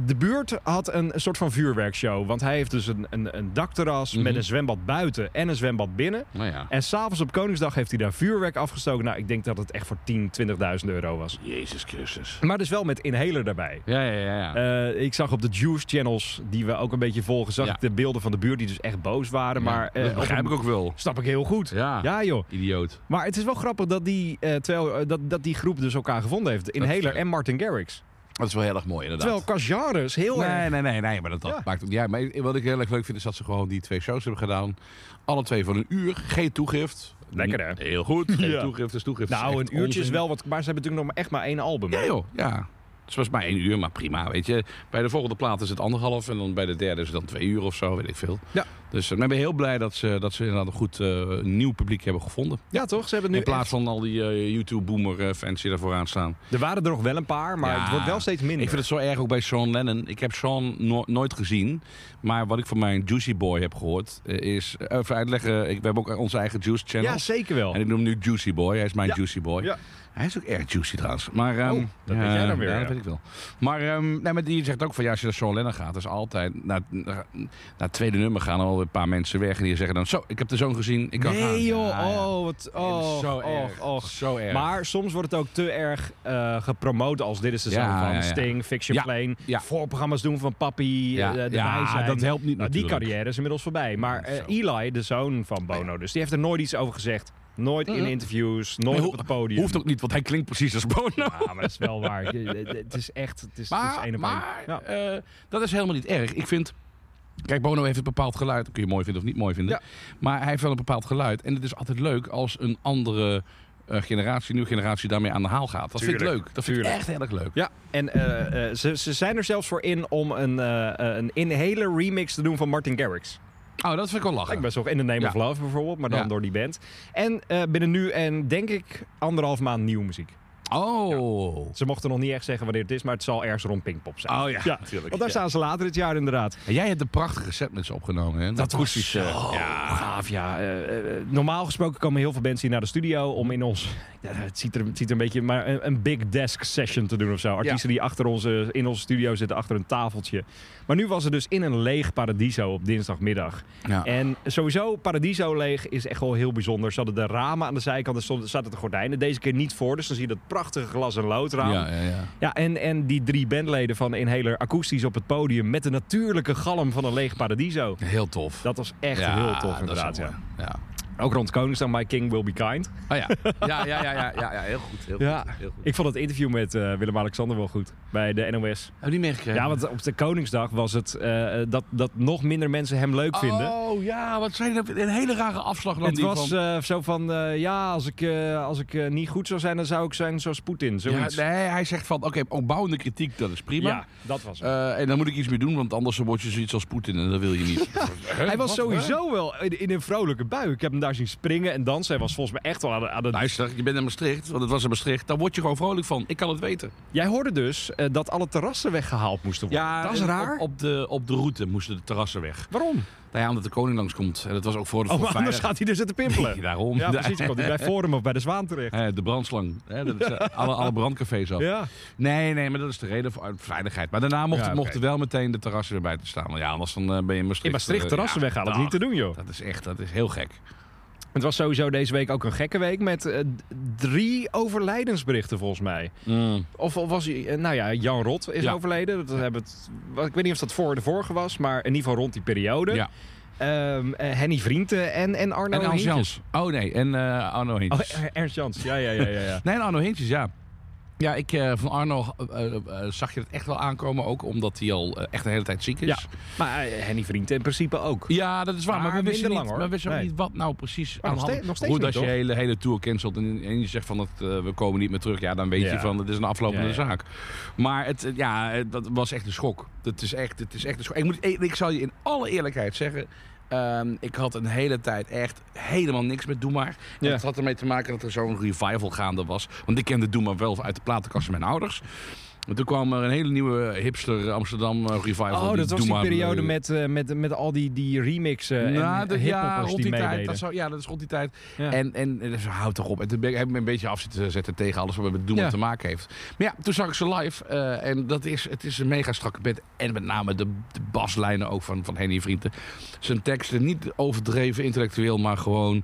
Speaker 3: De buurt had een soort van vuurwerkshow. Want hij heeft dus een, een, een dakterras
Speaker 4: Mhm.
Speaker 3: met een zwembad buiten en een zwembad binnen.
Speaker 4: Nou ja.
Speaker 3: En s'avonds op Koningsdag heeft hij daar vuurwerk afgestoken. Nou, ik denk dat het echt voor 10, 20.000 euro was.
Speaker 4: Jezus Christus.
Speaker 3: Maar dus wel met inhaler daarbij.
Speaker 4: Ja, ja, ja. ja.
Speaker 3: Eh, ik zag op de Juice Channels, die we ook een beetje volgen, zag
Speaker 4: Ja.
Speaker 3: ik de beelden van de buurt die dus echt boos waren. Maar eh,
Speaker 4: dat
Speaker 3: op een-
Speaker 4: begrijp ik ook wel.
Speaker 3: Snap ik heel goed.
Speaker 4: Ja.
Speaker 3: joh.
Speaker 4: Idioot.
Speaker 3: Maar het is wel grappig dat die, eh, terwijl, eh, dat, dat die groep dus elkaar gevonden heeft. Inhaler en Martin Garrix.
Speaker 4: Dat is wel heel erg mooi, inderdaad.
Speaker 3: Terwijl Cajares heel erg...
Speaker 4: Nee, nee, nee, nee, maar dat, dat
Speaker 3: Ja.
Speaker 4: maakt het niet uit. Maar wat ik heel erg leuk vind, is dat ze gewoon die twee shows hebben gedaan. Alle twee van een uur, geen toegift.
Speaker 3: Lekker, hè?
Speaker 4: Heel goed, geen
Speaker 3: Ja.
Speaker 4: toegift is toegift. is
Speaker 3: Nou,
Speaker 4: echt
Speaker 3: een uurtje is
Speaker 4: onzin.
Speaker 3: wel wat... Maar ze hebben natuurlijk nog maar echt maar één album.
Speaker 4: Ja joh, ja. Het was maar één uur, maar prima, weet je. Bij de volgende plaat is het anderhalf en dan bij de derde is het dan twee uur of zo, weet ik veel.
Speaker 3: Ja.
Speaker 4: Dus eh, maar ik ben heel blij dat ze, dat ze inderdaad een goed eh, nieuw publiek hebben gevonden.
Speaker 3: Ja, toch? Ze hebben nu
Speaker 4: In plaats van al die eh, YouTube-boomer-fans die daar vooraan staan.
Speaker 3: echt- Er waren er nog wel een paar, maar
Speaker 4: Ja.
Speaker 3: het wordt wel steeds minder.
Speaker 4: Ik vind het zo erg ook bij Sean Lennon. Ik heb Sean no- nooit gezien. Maar wat ik van mijn Juicy Boy heb gehoord eh, is... eh, Even uitleggen, ik, we hebben ook onze eigen Juice Channel.
Speaker 3: Ja, zeker wel.
Speaker 4: En ik noem hem nu Juicy Boy. Hij is mijn
Speaker 3: Ja.
Speaker 4: Juicy Boy.
Speaker 3: Ja.
Speaker 4: Hij is ook erg juicy trouwens. Maar, ehm,
Speaker 3: Oh, dat weet jij dan weer,
Speaker 4: ja,
Speaker 3: ja.
Speaker 4: dat weet ik wel. Maar, ehm, nee, maar die zegt ook van ja, als je naar Sean Lennon gaat, dat is altijd... Naar, naar, naar het tweede nummer gaan al een paar mensen weg. En die zeggen dan, zo, ik heb de zoon gezien, ik kan gaan.
Speaker 3: Nee joh,
Speaker 4: Ja, ja.
Speaker 3: oh, wat...
Speaker 4: Het is
Speaker 3: Oh,
Speaker 4: zo
Speaker 3: och,
Speaker 4: erg.
Speaker 3: och.
Speaker 4: Zo erg.
Speaker 3: Maar soms wordt het ook te erg eh, gepromoot als dit is de
Speaker 4: Ja,
Speaker 3: song van
Speaker 4: ja, ja.
Speaker 3: Sting, Fix Your
Speaker 4: Ja,
Speaker 3: Plane.
Speaker 4: ja.
Speaker 3: Voorprogramma's doen van Papi,
Speaker 4: Ja,
Speaker 3: eh, de
Speaker 4: ja,
Speaker 3: Wij zijn.
Speaker 4: dat helpt niet
Speaker 3: Nou, Die
Speaker 4: natuurlijk.
Speaker 3: carrière is inmiddels voorbij. Maar eh, Eli, de zoon van Bono dus, die heeft er nooit iets over gezegd. Nooit in interviews, nooit
Speaker 4: Maar
Speaker 3: op het podium.
Speaker 4: Hoeft ook niet, want hij klinkt precies als Bono.
Speaker 3: Ja, maar dat is wel waar. Je- je- Het is echt, het is, het is één
Speaker 4: Maar,
Speaker 3: op
Speaker 4: maar
Speaker 3: één. Ja.
Speaker 4: eh, dat is helemaal niet erg. Ik vind... Kijk, Bono heeft een bepaald geluid. Dat kun je mooi vinden of niet mooi vinden. Maar hij heeft wel een bepaald geluid. En het is altijd leuk als een andere eh, generatie, nieuwe generatie, daarmee aan de haal gaat. Dat vind ik
Speaker 3: Tuurlijk,
Speaker 4: leuk. Dat vind ik
Speaker 3: tuurlijk.
Speaker 4: echt heel erg leuk.
Speaker 3: Ja, en eh, eh, ze, ze zijn er zelfs voor in om een, eh, eh, een inhaler remix te doen van Martin Garrix.
Speaker 4: Oh, dat vind ik wel lachen.
Speaker 3: Ik ben zo in The Name
Speaker 4: Ja.
Speaker 3: of Love bijvoorbeeld, maar dan
Speaker 4: Ja.
Speaker 3: door die band. En eh, binnen nu en denk ik anderhalf maand nieuwe muziek.
Speaker 4: Oh.
Speaker 3: Ze mochten nog niet echt zeggen wanneer het is, maar het zal ergens rond Pinkpop zijn.
Speaker 4: Oh ja,
Speaker 3: Ja,
Speaker 4: natuurlijk.
Speaker 3: Want daar staan ze later dit jaar inderdaad.
Speaker 4: En jij hebt een prachtige set met ze opgenomen. Hè?
Speaker 3: Dat was zo gaaf, ja. Eh, eh, normaal gesproken komen heel veel mensen hier naar de studio om in ons... Ja, het, ziet er, het ziet er een beetje... Maar een, een big desk session te doen of zo. Artiesten die achter onze, in onze studio zitten, achter een tafeltje. Maar nu was het dus in een leeg paradiso op dinsdagmiddag.
Speaker 4: Ja.
Speaker 3: En sowieso, Paradiso leeg is echt wel heel bijzonder. Ze hadden de ramen aan de zijkant en stonden- zaten de gordijnen. Deze keer niet voor, dus dan zie je dat prachtige glas- en loodraam.
Speaker 4: Ja, ja, ja.
Speaker 3: Ja, en, en die drie bandleden van Inhaler akoestisch op het podium... met de natuurlijke galm van een leeg Paradiso.
Speaker 4: Heel tof.
Speaker 3: Dat was echt
Speaker 4: Ja,
Speaker 3: heel
Speaker 4: dat
Speaker 3: tof,
Speaker 4: is
Speaker 3: inderdaad.
Speaker 4: wel
Speaker 3: Ja.
Speaker 4: mooi. ja.
Speaker 3: Ook rond Koningsdag, My King Will Be Kind.
Speaker 4: Oh ja. Ja, ja, ja, ja, ja, ja, heel goed. Heel
Speaker 3: Ja,
Speaker 4: goed, heel goed.
Speaker 3: ik vond het interview met eh, Willem-Alexander wel goed bij de NOS.
Speaker 4: Heb je niet meegekregen?
Speaker 3: Ja, want op de Koningsdag was het eh, dat, dat nog minder mensen hem leuk vinden.
Speaker 4: Oh ja, wat zei je dat? Een hele rare afslag dan
Speaker 3: Het
Speaker 4: die
Speaker 3: was
Speaker 4: van...
Speaker 3: eh, zo van, eh, ja, als ik, eh, als ik eh, niet goed zou zijn, dan zou ik zijn zoals Poetin. Zoiets.
Speaker 4: Ja, nee, hij zegt van, oké, opbouwende kritiek, dat is prima.
Speaker 3: Ja, dat was het.
Speaker 4: Eh, en daar moet ik iets mee doen, want anders word je zoiets als Poetin en dat wil je niet. Hè?
Speaker 3: hij was
Speaker 4: Wat?
Speaker 3: sowieso wel in, in een vrolijke bui. Ik heb hem daar zien springen en dansen. Hij was volgens mij echt wel aan de... Aan de...
Speaker 4: Luister, je bent in Maastricht, want het was in Maastricht. Daar word je gewoon vrolijk van. Ik kan het weten.
Speaker 3: Jij hoorde dus eh, dat alle terrassen weggehaald moesten worden. dat is
Speaker 4: en
Speaker 3: raar.
Speaker 4: Op, op de, op de route moesten de terrassen weg.
Speaker 3: Waarom?
Speaker 4: Nou ja, omdat de koning langskomt. En dat was ook voor de
Speaker 3: Oh,
Speaker 4: voor
Speaker 3: maar anders
Speaker 4: veilig-
Speaker 3: gaat hij er zitten pimpelen.
Speaker 4: Nee, daarom.
Speaker 3: Ja, precies. Dan komt hij bij Forum of bij de Zwaan terecht.
Speaker 4: Eh, de brandslang. Hè, dat is, eh, alle, alle brandcafés af.
Speaker 3: Ja.
Speaker 4: Nee, nee, maar dat is de reden voor uit veiligheid. Maar daarna mochten,
Speaker 3: Ja, oké.
Speaker 4: mochten wel meteen de terrassen erbij te staan. Want ja, anders dan eh, ben je in Maastricht...
Speaker 3: In Maastricht
Speaker 4: eh,
Speaker 3: terrassen
Speaker 4: ja,
Speaker 3: weghalen, dat is
Speaker 4: dag.
Speaker 3: niet te doen, joh.
Speaker 4: Dat is echt, dat is heel gek.
Speaker 3: Het was sowieso deze week ook een gekke week met eh, d- drie overlijdensberichten, volgens mij. Of, of was hij, eh, nou ja, Jan Rot is
Speaker 4: Ja.
Speaker 3: overleden. Dat hebben het, wat- ik weet niet of dat voor de vorige was, maar in ieder geval rond die periode.
Speaker 4: Ja.
Speaker 3: Ehm, eh, Henny Vrienden en, en Arno
Speaker 4: en Hans
Speaker 3: Hintjes.
Speaker 4: Jans. Oh nee, en eh, Arno
Speaker 3: Oh,
Speaker 4: Hintjes.
Speaker 3: eh, Ernst Jans, ja, ja, ja. ja, ja.
Speaker 4: Nee, en Arno Hintjes, ja. Ja, ik, eh, van Arno eh, eh, eh, zag je het echt wel aankomen. Ook omdat hij al eh, echt de hele tijd ziek is.
Speaker 3: ja. Maar eh, Henny Vrienden in principe ook.
Speaker 4: Ja, dat is waar. Maar,
Speaker 3: Maar
Speaker 4: we wisten,
Speaker 3: minder
Speaker 4: niet,
Speaker 3: lang, hoor.
Speaker 4: we wisten ook
Speaker 3: Nee.
Speaker 4: niet wat nou precies
Speaker 3: Maar
Speaker 4: aan
Speaker 3: nog
Speaker 4: de hand-
Speaker 3: steeds- nog steeds
Speaker 4: Goed,
Speaker 3: niet,
Speaker 4: als je
Speaker 3: toch?
Speaker 4: hele, hele tour cancelt en, en je zegt van dat, eh, we komen niet meer terug. Ja, dan weet
Speaker 3: Ja.
Speaker 4: je van het is een aflopende
Speaker 3: Ja, ja.
Speaker 4: zaak. Maar het, eh, ja, eh, dat was echt een schok. Dat is echt, het is echt een schok. Ik, moet, ik, ik zal je in alle eerlijkheid zeggen. ehm, ik had een hele tijd echt helemaal niks met Doe Maar. En
Speaker 3: Ja.
Speaker 4: Het had ermee te maken dat er zo'n revival gaande was. Want ik kende Doe Maar wel uit de platenkast van mijn ouders. En toen kwam er een hele nieuwe hipster Amsterdam eh, revival.
Speaker 3: Oh, dat was
Speaker 4: Doe
Speaker 3: die
Speaker 4: Maar,
Speaker 3: periode
Speaker 4: eh,
Speaker 3: met, eh, met, met al die, die remixen
Speaker 4: nou,
Speaker 3: en
Speaker 4: dat-
Speaker 3: eh,
Speaker 4: ja,
Speaker 3: hiphoppers die
Speaker 4: rond die
Speaker 3: meededen.
Speaker 4: tijd, dat zou, ja, dat is rond die tijd.
Speaker 3: Ja.
Speaker 4: En, en, en dus, houd toch op. En toen ben ik, heb ik me een beetje af zitten zetten tegen alles wat met Doeman
Speaker 3: Ja.
Speaker 4: te maken heeft. Maar ja, toen zag ik ze live. eh, en dat is, het is een mega strakke band. En met name de, de baslijnen ook van, van Henny Vrienden. Zijn teksten niet overdreven intellectueel, maar gewoon...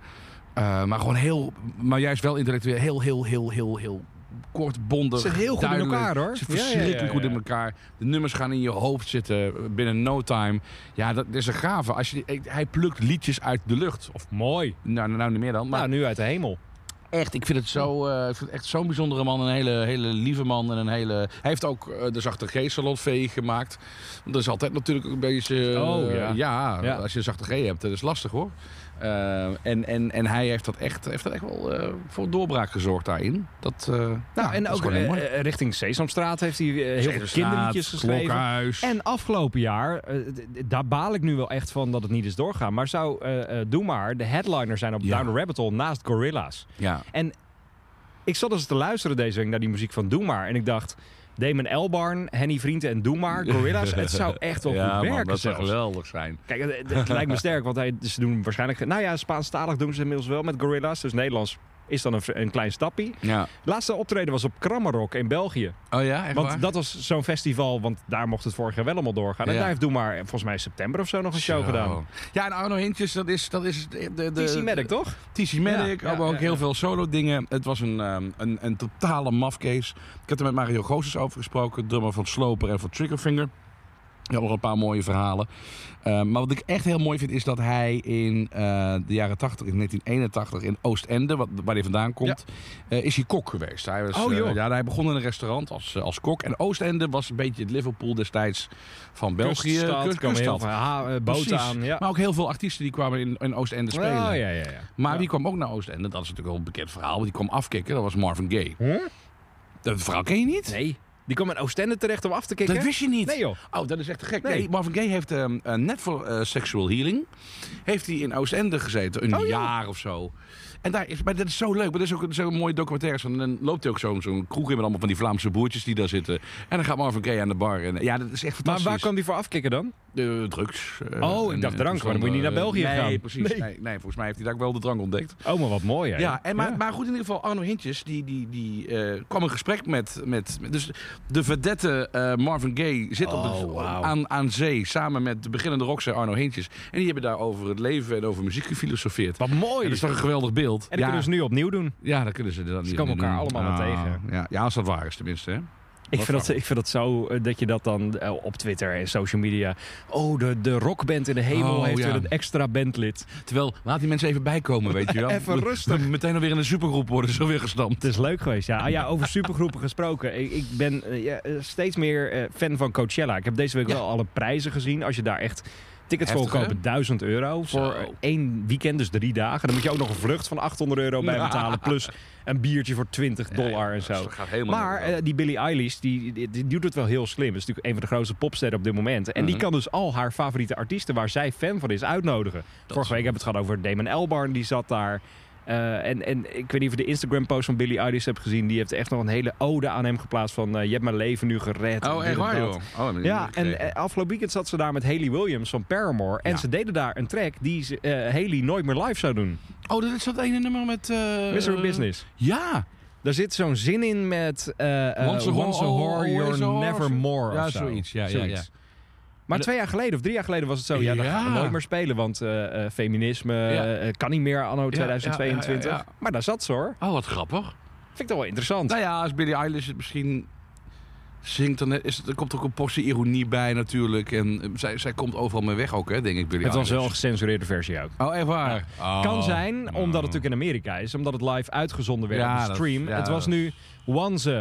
Speaker 4: eh, maar gewoon heel... Maar juist wel intellectueel. Heel, heel, heel, heel, heel kort, bondig.
Speaker 3: Ze zijn heel goed in
Speaker 4: duidelijk.
Speaker 3: elkaar, hoor.
Speaker 4: Ze zijn
Speaker 3: Ja, ja, ja,
Speaker 4: verschrikkelijk
Speaker 3: ja.
Speaker 4: goed in elkaar. De nummers gaan in je hoofd zitten eh, binnen no time. Ja, dat is een gave. Als je, die- hij plukt liedjes uit de lucht. Of,
Speaker 3: Mooi.
Speaker 4: nou, nou niet meer dan. Maar
Speaker 3: nou, nu uit de hemel.
Speaker 4: echt, ik vind het zo, eh, ik vind het echt zo'n bijzondere man. Een hele, hele lieve man en een hele... Hij heeft ook eh, de Zachte G Salon VE gemaakt. Dat is altijd natuurlijk ook een beetje... eh,
Speaker 3: Oh, ja.
Speaker 4: ja,
Speaker 3: Ja.
Speaker 4: als je een Zachte G hebt, dat is lastig hoor. Eh, en, en, en hij heeft dat echt, heeft dat echt wel eh, voor doorbraak gezorgd daarin. Dat, eh, ja,
Speaker 3: Nou, en
Speaker 4: dat is
Speaker 3: ook
Speaker 4: gewoon heel mooi.
Speaker 3: eh, eh, richting Sesamstraat heeft hij eh, heel veel kinderliedjes geschreven.
Speaker 4: Klokhuis.
Speaker 3: En afgelopen jaar, eh, d- d- daar baal ik nu wel echt van dat het niet is doorgaan. Maar zou eh, eh, Doe Maar de headliner zijn op
Speaker 4: Ja.
Speaker 3: Down the Rabbit Hole naast Gorilla's.
Speaker 4: Ja.
Speaker 3: En ik zat eens te luisteren deze week naar die muziek van Doe Maar. En ik dacht, Damon Elbarn, Henny Vrienden en Doe Maar, Gorilla's. het zou echt wel
Speaker 4: ja,
Speaker 3: goed
Speaker 4: man,
Speaker 3: werken
Speaker 4: dat zou
Speaker 3: zelfs.
Speaker 4: geweldig zijn.
Speaker 3: Kijk, het, het- het lijkt me sterk, want hij, ze doen waarschijnlijk... Nou ja, Spaanstalig doen ze inmiddels wel met Gorilla's. Dus Nederlands is dan een, v- een klein stapje.
Speaker 4: Ja.
Speaker 3: Laatste optreden was op Krammerok in België.
Speaker 4: Oh ja, echt
Speaker 3: Want
Speaker 4: waar?
Speaker 3: dat was zo'n festival, want daar mocht het vorig jaar wel allemaal doorgaan. En
Speaker 4: Ja.
Speaker 3: daar heeft Doe Maar volgens mij in september of zo nog een show
Speaker 4: Zo.
Speaker 3: gedaan.
Speaker 4: Ja, en Arno Hintjes, dat is... Dat is de, de, de-
Speaker 3: TC Medic, toch?
Speaker 4: TC Medic,
Speaker 3: Ja, ja,
Speaker 4: maar ook
Speaker 3: ja,
Speaker 4: heel
Speaker 3: ja.
Speaker 4: veel solo dingen. Het was een, ehm, een, een totale mafcase. Ik heb er met Mario Goossens over gesproken. Drummer van Sloper en van Triggerfinger. Ja, nog een paar mooie verhalen. Eh, maar wat ik echt heel mooi vind is dat hij in eh, de jaren 80, in 1981, in Oostende, wat, waar hij vandaan komt, eh, is hij kok geweest. Hij was,
Speaker 3: Oh,
Speaker 4: eh,
Speaker 3: joh.
Speaker 4: ja, hij begon in een restaurant als, eh, als kok. En Oostende was een beetje het Liverpool destijds van België.
Speaker 3: Kuststad,
Speaker 4: Kust-
Speaker 3: kwamen heel
Speaker 4: kuststad.
Speaker 3: veel ha- eh, boten
Speaker 4: Precies.
Speaker 3: aan. Ja.
Speaker 4: Maar ook heel veel artiesten die kwamen in, in Oostende spelen.
Speaker 3: Oh, ja, ja, ja.
Speaker 4: Maar
Speaker 3: Ja.
Speaker 4: wie kwam ook naar Oostende? Dat is natuurlijk wel een bekend verhaal. Want die kwam afkicken. Dat was Marvin Gaye. Dat verhaal ken je niet?
Speaker 3: Nee, die kwam in Oostende terecht om af te kicken.
Speaker 4: Dat wist je niet.
Speaker 3: Nee, joh.
Speaker 4: Oh, dat is echt te gek.
Speaker 3: Nee.
Speaker 4: Nee, Marvin Gaye heeft ehm, eh, net voor eh, Sexual Healing... heeft hij in Oostende gezeten. Een
Speaker 3: Oh, ja.
Speaker 4: jaar of zo. En daar is, maar dat is zo leuk. Maar dat is ook een- zo'n mooie documentaire. En dan loopt hij ook zo'n zo'n kroeg in met allemaal van die Vlaamse boertjes die daar zitten. En dan gaat Marvin Gaye aan de bar. En, ja, dat is echt
Speaker 3: Maar
Speaker 4: fantastisch.
Speaker 3: waar kwam die voor afkicken dan?
Speaker 4: De drugs. eh,
Speaker 3: Oh, ik
Speaker 4: en-
Speaker 3: dacht
Speaker 4: en
Speaker 3: drank, maar dan moet je niet naar
Speaker 4: eh,
Speaker 3: België
Speaker 4: nee,
Speaker 3: gaan.
Speaker 4: Precies,
Speaker 3: Nee.
Speaker 4: nee, nee, volgens mij heeft hij daar ook wel de drank ontdekt.
Speaker 3: Oh, maar wat mooi, hè?
Speaker 4: Ja, en maar, maar goed, in ieder geval, Arno Hintjes die, die, die, eh, kwam in gesprek met, met, met- Dus de vedette eh, Marvin Gaye zit op het,
Speaker 3: Oh, wauw.
Speaker 4: aan, aan zee samen met de beginnende rockster Arno Hintjes. En die hebben daar over het leven en over muziek gefilosofeerd.
Speaker 3: Wat mooi.
Speaker 4: En dat is toch een geweldig beeld?
Speaker 3: En dus dat
Speaker 4: ja,
Speaker 3: kunnen ze nu opnieuw doen.
Speaker 4: ja, dat kunnen ze dan niet.
Speaker 3: komen
Speaker 4: niet
Speaker 3: elkaar
Speaker 4: doen. Ah,
Speaker 3: allemaal wel tegen.
Speaker 4: Ja, ja, als dat waar is tenminste. Hè.
Speaker 3: Ik
Speaker 4: Wat
Speaker 3: vind, dat,
Speaker 4: grappig.
Speaker 3: ik vind dat zo eh, dat je dat dan eh, op Twitter en social media. Oh, de, de rockband in de hemel
Speaker 4: Oh,
Speaker 3: heeft
Speaker 4: ja.
Speaker 3: weer een extra bandlid.
Speaker 4: Terwijl, laat die mensen even bijkomen, weet je wel.
Speaker 3: Even rustig.
Speaker 4: Meteen alweer in een supergroep worden zo weer gestampt.
Speaker 3: Het is leuk geweest. Ja, Ah ja over supergroepen gesproken. Ik, ik ben eh, ja, eh, steeds meer eh, fan van Coachella. Ik heb deze week
Speaker 4: Ja.
Speaker 3: wel alle prijzen gezien. Als je daar echt tickets voor
Speaker 4: Heftig,
Speaker 3: wil kopen, 1000 euro. Voor
Speaker 4: Zo.
Speaker 3: één weekend, dus drie dagen. Dan moet je ook nog een vlucht van 800 euro bij
Speaker 4: Ja.
Speaker 3: betalen. Plus een biertje voor 20 dollar en
Speaker 4: Dus
Speaker 3: zo.
Speaker 4: dat gaat helemaal
Speaker 3: Maar
Speaker 4: nergens
Speaker 3: eh, die Billie Eilish, die, die, die doet het wel heel slim. Dat is natuurlijk een van de grootste popsterren op dit moment. En die
Speaker 4: Mhm.
Speaker 3: kan dus al haar favoriete artiesten waar zij fan van is uitnodigen. Vorige week hebben we het gehad over Damon Albarn, die zat daar. Eh, en, en ik weet niet of je de Instagram-post van Billie Eilish hebt gezien. Die heeft echt nog een hele ode aan hem geplaatst van... eh, je hebt mijn leven nu gered.
Speaker 4: op.
Speaker 3: en
Speaker 4: Oh,
Speaker 3: dit
Speaker 4: echt
Speaker 3: en
Speaker 4: waar,
Speaker 3: dat.
Speaker 4: joh. Oh, dat heb ik
Speaker 3: Ja,
Speaker 4: niet
Speaker 3: en
Speaker 4: gekregen.
Speaker 3: eh, afgelopen weekend zat ze daar met Haley Williams van Paramore. En
Speaker 4: Ja.
Speaker 3: ze deden daar een track die ze, eh, Haley nooit meer live zou doen.
Speaker 4: Oh, dat is dat ene nummer met... eh,
Speaker 3: Mr. Business.
Speaker 4: Ja,
Speaker 3: Daar zit zo'n zin in met... eh eh,
Speaker 4: Once a oh, whore,
Speaker 3: whore,
Speaker 4: always a
Speaker 3: you're
Speaker 4: whore,
Speaker 3: never
Speaker 4: zo-
Speaker 3: more.
Speaker 4: Ja,
Speaker 3: of zo.
Speaker 4: zoiets, ja, ja, ja.
Speaker 3: Maar
Speaker 4: de-
Speaker 3: twee jaar geleden of drie jaar geleden was het zo. Ja, dan gaan we
Speaker 4: Ja.
Speaker 3: nooit meer spelen. Want eh, eh, feminisme eh, kan niet meer anno 2022.
Speaker 4: ja, ja, ja.
Speaker 3: Maar daar zat ze hoor.
Speaker 4: Oh, wat grappig.
Speaker 3: Vind ik toch wel interessant.
Speaker 4: Nou ja, als Billie Eilish het misschien zingt, dan is het, er komt ook een portie ironie bij natuurlijk. En eh, zij, zij komt overal mee weg ook, hè, denk ik, Billie
Speaker 3: het was
Speaker 4: Eilish.
Speaker 3: wel een gecensureerde versie ook.
Speaker 4: Oh, echt waar? Oh.
Speaker 3: Kan zijn, omdat het natuurlijk in Amerika is. Omdat het live uitgezonden werd
Speaker 4: Ja,
Speaker 3: op de
Speaker 4: dat-
Speaker 3: stream.
Speaker 4: ja,
Speaker 3: het was
Speaker 4: dat-
Speaker 3: nu Once,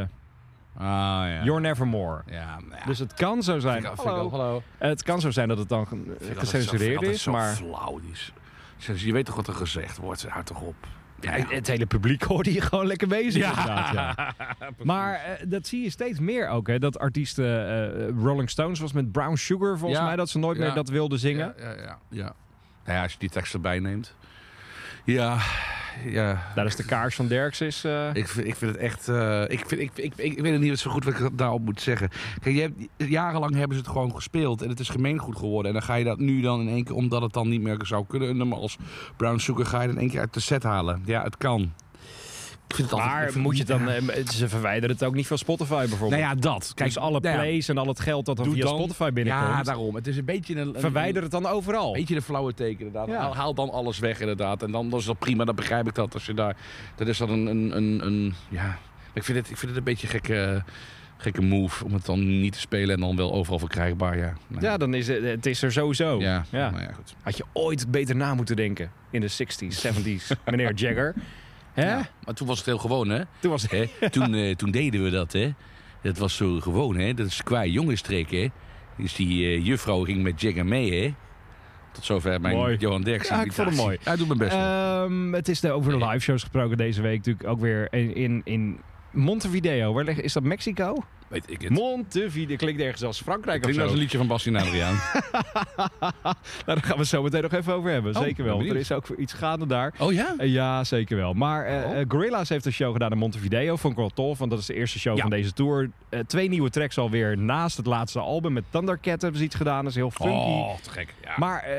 Speaker 3: a,
Speaker 4: Ah, ja.
Speaker 3: You're Never More.
Speaker 4: Ja, nou ja.
Speaker 3: Dus het kan zo zijn.
Speaker 4: Vind ik- vind ik
Speaker 3: hallo.
Speaker 4: ook- hallo.
Speaker 3: Het kan zo zijn dat het dan ge-
Speaker 4: Vind ik altijd zo- vind
Speaker 3: gecensureerd
Speaker 4: ik altijd
Speaker 3: is.
Speaker 4: zo
Speaker 3: Maar
Speaker 4: flauw, die is. Zeg, Je weet toch wat er gezegd wordt? Houd toch op.
Speaker 3: Ja, het hele publiek hoorde je gewoon lekker bezig. Inderdaad, ja. Maar eh, dat zie je steeds meer ook. Hè? Dat artiesten. eh, Rolling Stones was met Brown Sugar volgens
Speaker 4: Ja.
Speaker 3: mij dat ze nooit
Speaker 4: Ja.
Speaker 3: meer dat wilden zingen.
Speaker 4: Ja, ja, ja, ja. Nou ja, als je die tekst erbij neemt. Ja, ja.
Speaker 3: Daar is de kaars van Derks. Is, eh,
Speaker 4: Ik vind, ik vind het echt. eh, ik, vind, ik, ik, ik, ik weet het niet zo goed wat ik daarop moet zeggen. Kijk, je hebt, jarenlang hebben ze het gewoon gespeeld. En het is gemeengoed geworden. En dan ga je dat nu dan in één keer, omdat het dan niet meer zou kunnen. Een nummer als Brown Sugar ga je dan in één keer uit de set halen. Ja, het kan. Ik vind het altijd. ik
Speaker 3: maar
Speaker 4: vind-
Speaker 3: moet je dan. eh, ze verwijderen het ook niet van Spotify bijvoorbeeld.
Speaker 4: Nou ja, dat. Kijk,
Speaker 3: dus alle
Speaker 4: nou ja,
Speaker 3: plays en al het geld dat dan
Speaker 4: doe
Speaker 3: via
Speaker 4: dan-
Speaker 3: Spotify binnenkomt.
Speaker 4: Ja, daarom. Het is een beetje een. een-
Speaker 3: verwijder het dan overal.
Speaker 4: Een beetje de flauwe teken, inderdaad.
Speaker 3: Ja.
Speaker 4: Haal- Haal dan alles weg, inderdaad. En dan, dan is dat prima, dan begrijp ik dat. Als je daar, dat is dan een, een, een, een- ja... Maar Ik vind, het, ik vind het een beetje een gekke, gekke move om het dan niet te spelen en dan wel overal verkrijgbaar, ja. Nou,
Speaker 3: Ja, dan is het, het is er sowieso.
Speaker 4: ja.
Speaker 3: Ja.
Speaker 4: Nou ja, goed.
Speaker 3: Had je ooit beter na moeten denken in de 60s, 70s, meneer Jagger. Hè?
Speaker 4: Maar toen was het heel gewoon, hè?
Speaker 3: Toen was het...
Speaker 4: Hè? toen, eh, toen deden we dat, hè? Dat was zo gewoon, hè? Dat is qua jongenstrek, hè? Dus die eh, juffrouw ging met Jack en mee, hè? Tot zover mijn
Speaker 3: Mooi.
Speaker 4: Johan Derksen.
Speaker 3: Ja, ik vond het mooi.
Speaker 4: Hij doet mijn best. nog.
Speaker 3: Ehm, het is de, over de live shows gesproken deze week natuurlijk ook weer in, in, in Montevideo. Waar ligt, is dat Mexico?
Speaker 4: Weet ik het.
Speaker 3: Montevideo klinkt ergens als Frankrijk of
Speaker 4: Klinkt als
Speaker 3: zo.
Speaker 4: een liedje van Bastien Adriaan.
Speaker 3: Nou, daar gaan we het zo meteen nog even over hebben.
Speaker 4: Oh,
Speaker 3: zeker
Speaker 4: ben
Speaker 3: wel. want Er
Speaker 4: benieuwd.
Speaker 3: is ook weer iets gaande daar.
Speaker 4: oh ja?
Speaker 3: Eh, Ja, zeker wel. Maar eh,
Speaker 4: Oh.
Speaker 3: eh, Gorillaz heeft een show gedaan in Montevideo. Vond ik wel tof, want dat is de eerste show
Speaker 4: Ja.
Speaker 3: van deze tour. Eh, twee nieuwe tracks alweer naast het laatste album. Met Thundercat hebben ze iets gedaan. Dat is heel funky.
Speaker 4: Oh, te gek. Ja.
Speaker 3: Maar eh,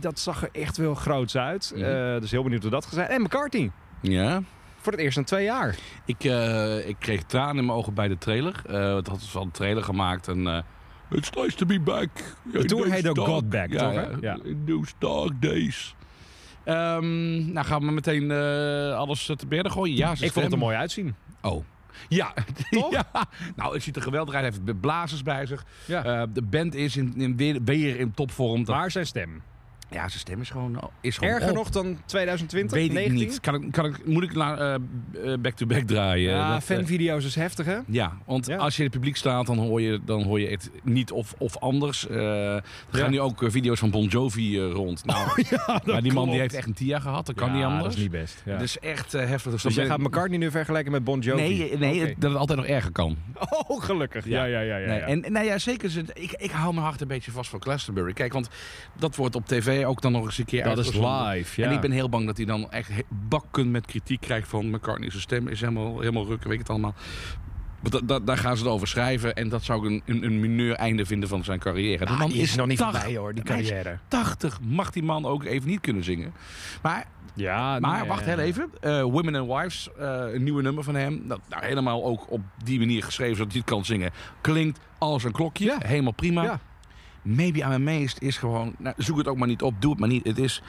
Speaker 3: dat zag er echt wel groots uit.
Speaker 4: Mhm.
Speaker 3: Eh, dus heel benieuwd hoe dat gaat zijn. En McCartney.
Speaker 4: ja.
Speaker 3: Voor het eerst in twee jaar.
Speaker 4: Ik, eh, ik kreeg tranen in mijn ogen bij de trailer. Eh het hadden ze al een trailer gemaakt en... eh, It's nice to be back.
Speaker 3: De tour
Speaker 4: Those
Speaker 3: heet ook
Speaker 4: dark-
Speaker 3: God Back,
Speaker 4: ja,
Speaker 3: toch, hè?
Speaker 4: Ja,
Speaker 3: Ja.
Speaker 4: In those dark days. Ehm, nou, gaan we meteen eh, alles te berden gooien? Ja, ze
Speaker 3: Ik vond het er
Speaker 4: stemmen.
Speaker 3: mooi uitzien.
Speaker 4: Oh. Ja,
Speaker 3: Toch?
Speaker 4: ja. Nou, het ziet er geweldig uit. Hij heeft de blazers bij zich.
Speaker 3: Ja.
Speaker 4: Eh, de band is in, in weer, weer in topvorm. Dat-
Speaker 3: maar zijn stem.
Speaker 4: ja, zijn stem is gewoon, is gewoon
Speaker 3: Erger
Speaker 4: op.
Speaker 3: nog dan 2020,
Speaker 4: Weet
Speaker 3: 19?
Speaker 4: ik niet. Kan ik, kan ik, moet ik la- eh, eh, back-to-back draaien?
Speaker 3: Ja,
Speaker 4: Dat, eh,
Speaker 3: Ah, fanvideo's is heftig, hè?
Speaker 4: ja, want
Speaker 3: Ja.
Speaker 4: als je in het publiek staat, dan hoor je, dan hoor je het niet of, of anders. Eh, er
Speaker 3: Ja.
Speaker 4: gaan nu ook eh, video's van Bon Jovi eh, rond. Nou, maar die man die
Speaker 3: klopt.
Speaker 4: heeft echt een TIA gehad, dat kan
Speaker 3: Ja,
Speaker 4: niet anders.
Speaker 3: dat is niet best. Ja.
Speaker 4: Dat
Speaker 3: Dus,
Speaker 4: is echt eh, heftig. Dus,
Speaker 3: jij
Speaker 4: dan
Speaker 3: gaat
Speaker 4: ben ik-
Speaker 3: McCartney nu vergelijken met Bon Jovi?
Speaker 4: Nee, nee
Speaker 3: Oké.
Speaker 4: het- dat het altijd nog erger kan.
Speaker 3: Oh, gelukkig. Ja, ja, ja. ja,
Speaker 4: Nee,
Speaker 3: ja.
Speaker 4: En nou ja, zeker. ze- Ik, ik hou mijn hart een beetje vast voor Glastonbury. Kijk, want dat wordt op tv ook dan nog eens een keer
Speaker 3: dat is
Speaker 4: uitgezonden.
Speaker 3: live, ja. Ah,
Speaker 4: En ik ben heel bang dat hij dan echt he- bakken met kritiek krijgt van McCartney. Zijn stem is helemaal, helemaal rukken, weet ik het allemaal. Maar da- da- daar gaan ze het over schrijven. En dat zou ik een, een, een mineur einde vinden van zijn carrière. De
Speaker 3: Ah,
Speaker 4: man
Speaker 3: die is nog niet
Speaker 4: 80.
Speaker 3: voorbij, hoor, die
Speaker 4: Hij is
Speaker 3: carrière.
Speaker 4: 80 mag die man ook even niet kunnen zingen. Maar,
Speaker 3: Ja,
Speaker 4: maar
Speaker 3: nee,
Speaker 4: wacht
Speaker 3: ja.
Speaker 4: heel even. Eh, Women and Wives, eh, een nieuwe nummer van hem. Dat, nou, helemaal ook op die manier geschreven zodat hij het kan zingen. Klinkt als een klokje.
Speaker 3: Ja.
Speaker 4: Helemaal prima.
Speaker 3: Ja.
Speaker 4: Maybe I'm Amazed is gewoon... Nou, zoek het ook maar niet op, doe het maar niet. Het is...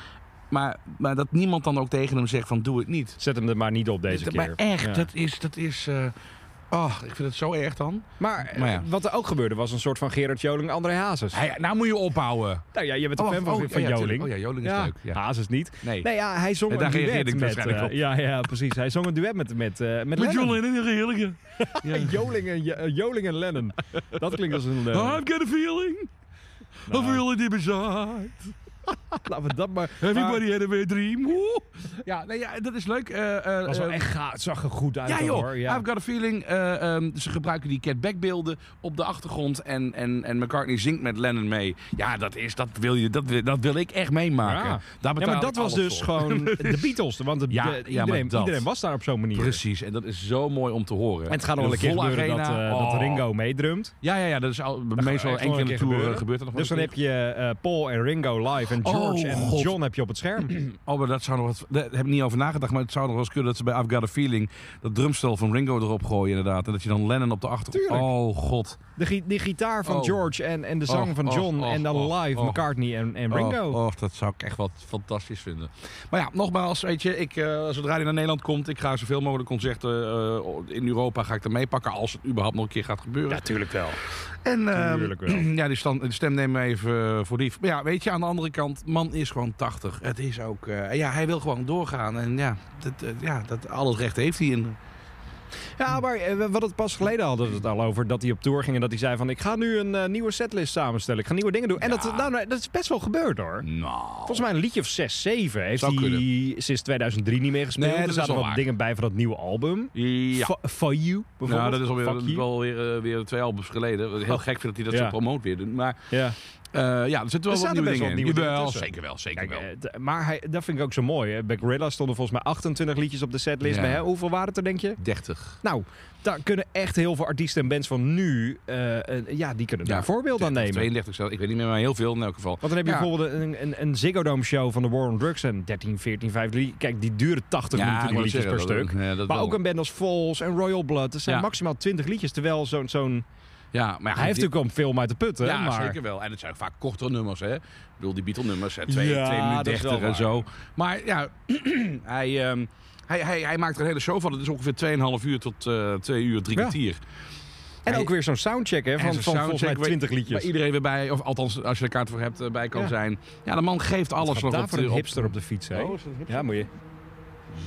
Speaker 4: Maar, maar dat niemand dan ook tegen hem zegt van doe het niet.
Speaker 3: Zet hem er maar niet op deze
Speaker 4: Dat-
Speaker 3: keer.
Speaker 4: Maar echt,
Speaker 3: Ja.
Speaker 4: dat is... Dat is eh, oh, ik vind het zo erg dan.
Speaker 3: Maar, eh,
Speaker 4: Maar ja.
Speaker 3: wat er ook gebeurde was een soort van Gerard Joling, André Hazes.
Speaker 4: Hij, nou moet je ophouden.
Speaker 3: Nou ja, je bent een
Speaker 4: Oh,
Speaker 3: fan van,
Speaker 4: oh, ja,
Speaker 3: van
Speaker 4: ja,
Speaker 3: Joling.
Speaker 4: tuurlijk. Oh ja, Joling is leuk, ja.
Speaker 3: Hazes niet.
Speaker 4: Nee.
Speaker 3: Nee, ja, hij zong
Speaker 4: En daar
Speaker 3: een duet
Speaker 4: reageerde ik
Speaker 3: met...
Speaker 4: waarschijnlijk
Speaker 3: eh,
Speaker 4: op.
Speaker 3: ja, ja, precies. Hij zong een duet met, met, eh, met, Lennon.
Speaker 4: en de heerlijke.
Speaker 3: Joling en, eh, Joling en Lennon. Dat klinkt als een... eh,
Speaker 4: got a feeling.
Speaker 3: Nou.
Speaker 4: really deep inside.
Speaker 3: laten we dat maar... maar-
Speaker 4: had a dream. Woe. Ja, nee, ja, dat is leuk. Eh, eh,
Speaker 3: was wel
Speaker 4: eh,
Speaker 3: echt gaaf. Het zag er goed uit
Speaker 4: Ja
Speaker 3: dan,
Speaker 4: joh,
Speaker 3: hoor. Ja.
Speaker 4: I've got a feeling. eh, ehm, ze gebruiken die Cat Back beelden op de achtergrond. En, en, en McCartney zingt met Lennon mee. Ja, dat, is, dat, wil, je, dat, wil- dat wil ik echt
Speaker 3: Ja.
Speaker 4: meemaken. Daar
Speaker 3: Ja,
Speaker 4: betaal
Speaker 3: maar
Speaker 4: ik
Speaker 3: dat was
Speaker 4: alles
Speaker 3: dus
Speaker 4: voor.
Speaker 3: gewoon de Beatles. Want de,
Speaker 4: Ja,
Speaker 3: de-
Speaker 4: ja, maar
Speaker 3: iedereen,
Speaker 4: dat.
Speaker 3: iedereen was daar op zo'n manier.
Speaker 4: Precies, en dat is zo mooi om te horen.
Speaker 3: En het gaat nog wel een keer
Speaker 4: volle
Speaker 3: gebeuren dat,
Speaker 4: arena.
Speaker 3: eh, dat
Speaker 4: Oh.
Speaker 3: Ringo meedrumt.
Speaker 4: Ja, ja, ja, dat is al, meestal
Speaker 3: echt
Speaker 4: één
Speaker 3: nog
Speaker 4: keer in
Speaker 3: een
Speaker 4: de
Speaker 3: keer
Speaker 4: tour
Speaker 3: gebeuren.
Speaker 4: eh, gebeurt dat nog
Speaker 3: Dus dan heb je eh, Paul en Ringo live en George
Speaker 4: Oh,
Speaker 3: en
Speaker 4: God.
Speaker 3: John heb je op het scherm.
Speaker 4: Oh, maar dat zou nog wat... Daar heb ik niet over nagedacht, maar het zou nog wel eens kunnen... dat ze bij I've Got A Feeling dat drumstel van Ringo erop gooien inderdaad. En dat je dan Lennon op de achtergrond...
Speaker 3: Tuurlijk.
Speaker 4: Oh, god.
Speaker 3: De, gi- die gitaar van
Speaker 4: Oh.
Speaker 3: George en, en de zang
Speaker 4: Och,
Speaker 3: van
Speaker 4: och,
Speaker 3: John
Speaker 4: och,
Speaker 3: en dan
Speaker 4: och,
Speaker 3: live
Speaker 4: och.
Speaker 3: McCartney en, en Ringo.
Speaker 4: Oh, oh, dat zou ik echt wat fantastisch vinden. Maar ja, nogmaals, weet je, ik, eh, zodra hij naar Nederland komt... ik ga zoveel mogelijk concerten eh, in Europa ga ik er mee pakken... als het überhaupt nog een keer gaat gebeuren.
Speaker 3: Natuurlijk wel.
Speaker 4: En ehm,
Speaker 3: Tuurlijk wel.
Speaker 4: ja, die, stand, die stem nemen we even eh, voor lief. Maar ja, weet je, aan de andere kant, man is gewoon 80. Het is ook, eh, ja, hij wil gewoon doorgaan. En ja, dat, eh, ja dat, al het recht heeft hij. En,
Speaker 3: Ja, maar eh, we- wat het pas geleden hadden we het al over. Dat hij op tour ging en dat hij zei van... Ik ga nu een eh, nieuwe setlist samenstellen. Ik ga nieuwe dingen doen. En dat, nou, nou, dat is best wel gebeurd hoor.
Speaker 4: nou,
Speaker 3: Volgens mij een liedje of 6, 7 heeft
Speaker 4: Zou
Speaker 3: hij sinds 2003 niet meer gespeeld.
Speaker 4: Nee, dat
Speaker 3: er
Speaker 4: is
Speaker 3: zaten
Speaker 4: wel
Speaker 3: wat
Speaker 4: waar.
Speaker 3: dingen bij van dat nieuwe album.
Speaker 4: ja.
Speaker 3: Fo- For You
Speaker 4: Nou,
Speaker 3: bijvoorbeeld.
Speaker 4: dat is alweer,
Speaker 3: Fuck
Speaker 4: dat is
Speaker 3: You.
Speaker 4: wel weer, eh, weer twee albums geleden. Wat ik Heel
Speaker 3: Oh.
Speaker 4: gek vind dat hij dat
Speaker 3: Ja.
Speaker 4: zo promoot weer doet. Maar
Speaker 3: Ja.
Speaker 4: eh, ja, er zitten
Speaker 3: Er
Speaker 4: wel
Speaker 3: zaten best wel
Speaker 4: wat nieuwe dingen in.
Speaker 3: nieuwe dingen
Speaker 4: Jawel,
Speaker 3: tussen.
Speaker 4: zeker wel, zeker
Speaker 3: Kijk,
Speaker 4: wel.
Speaker 3: eh, d- maar hij, dat vind ik ook zo mooi. hè. Bij Gorilla stonden volgens mij 28 liedjes op de setlist.
Speaker 4: Ja.
Speaker 3: Maar, hè, hoeveel waren het er, denk je?
Speaker 4: 30.
Speaker 3: Nou, daar kunnen echt heel veel artiesten en bands van nu... eh, eh, ja, die kunnen daar
Speaker 4: Ja,
Speaker 3: een voorbeeld aan nemen.
Speaker 4: 32 zelfs. Ik weet niet meer, maar heel veel in elk geval.
Speaker 3: Want dan heb je
Speaker 4: Ja.
Speaker 3: bijvoorbeeld een, een, een Ziggo Dome show van de War on Drugs. En 13, 14, 15... Kijk, die duren 80 minuten,
Speaker 4: ik
Speaker 3: die
Speaker 4: wou
Speaker 3: liedjes
Speaker 4: zeggen,
Speaker 3: per
Speaker 4: dat-
Speaker 3: stuk.
Speaker 4: ja, dat
Speaker 3: Maar
Speaker 4: wel.
Speaker 3: ook een band als Falls en Royal Blood. Dat zijn
Speaker 4: Ja.
Speaker 3: maximaal 20 liedjes. Terwijl zo'n... zo'n
Speaker 4: Ja, maar ja,
Speaker 3: hij heeft
Speaker 4: dit-
Speaker 3: natuurlijk al een film uit de putten.
Speaker 4: Ja,
Speaker 3: maar...
Speaker 4: zeker wel. En het zijn vaak kortere nummers, hè. Ik bedoel, die Beatle-nummers, hè. Twee,
Speaker 3: Ja,
Speaker 4: twee
Speaker 3: dat
Speaker 4: minuten
Speaker 3: is wel
Speaker 4: 30 en
Speaker 3: waar.
Speaker 4: zo. Maar ja, hij, ehm, hij, hij, hij maakt er een hele show van. Het is ongeveer 2,5 uur tot eh 2 uur, 3
Speaker 3: Ja.
Speaker 4: kwartier.
Speaker 3: En
Speaker 4: Hij-
Speaker 3: ook weer zo'n soundcheck hè, van,
Speaker 4: zo'n
Speaker 3: van volgens mij
Speaker 4: soundcheck
Speaker 3: 20
Speaker 4: Waar
Speaker 3: liedjes.
Speaker 4: iedereen weer bij, of althans als je er kaart voor hebt, eh, bij kan
Speaker 3: Ja.
Speaker 4: zijn. Ja, de man geeft alles
Speaker 3: Wat
Speaker 4: nog
Speaker 3: gaat daar
Speaker 4: op,
Speaker 3: voor
Speaker 4: de-
Speaker 3: een
Speaker 4: op-
Speaker 3: hipster op de fiets, hè?
Speaker 4: Oh, is dat een hipster?
Speaker 3: ja, moet je.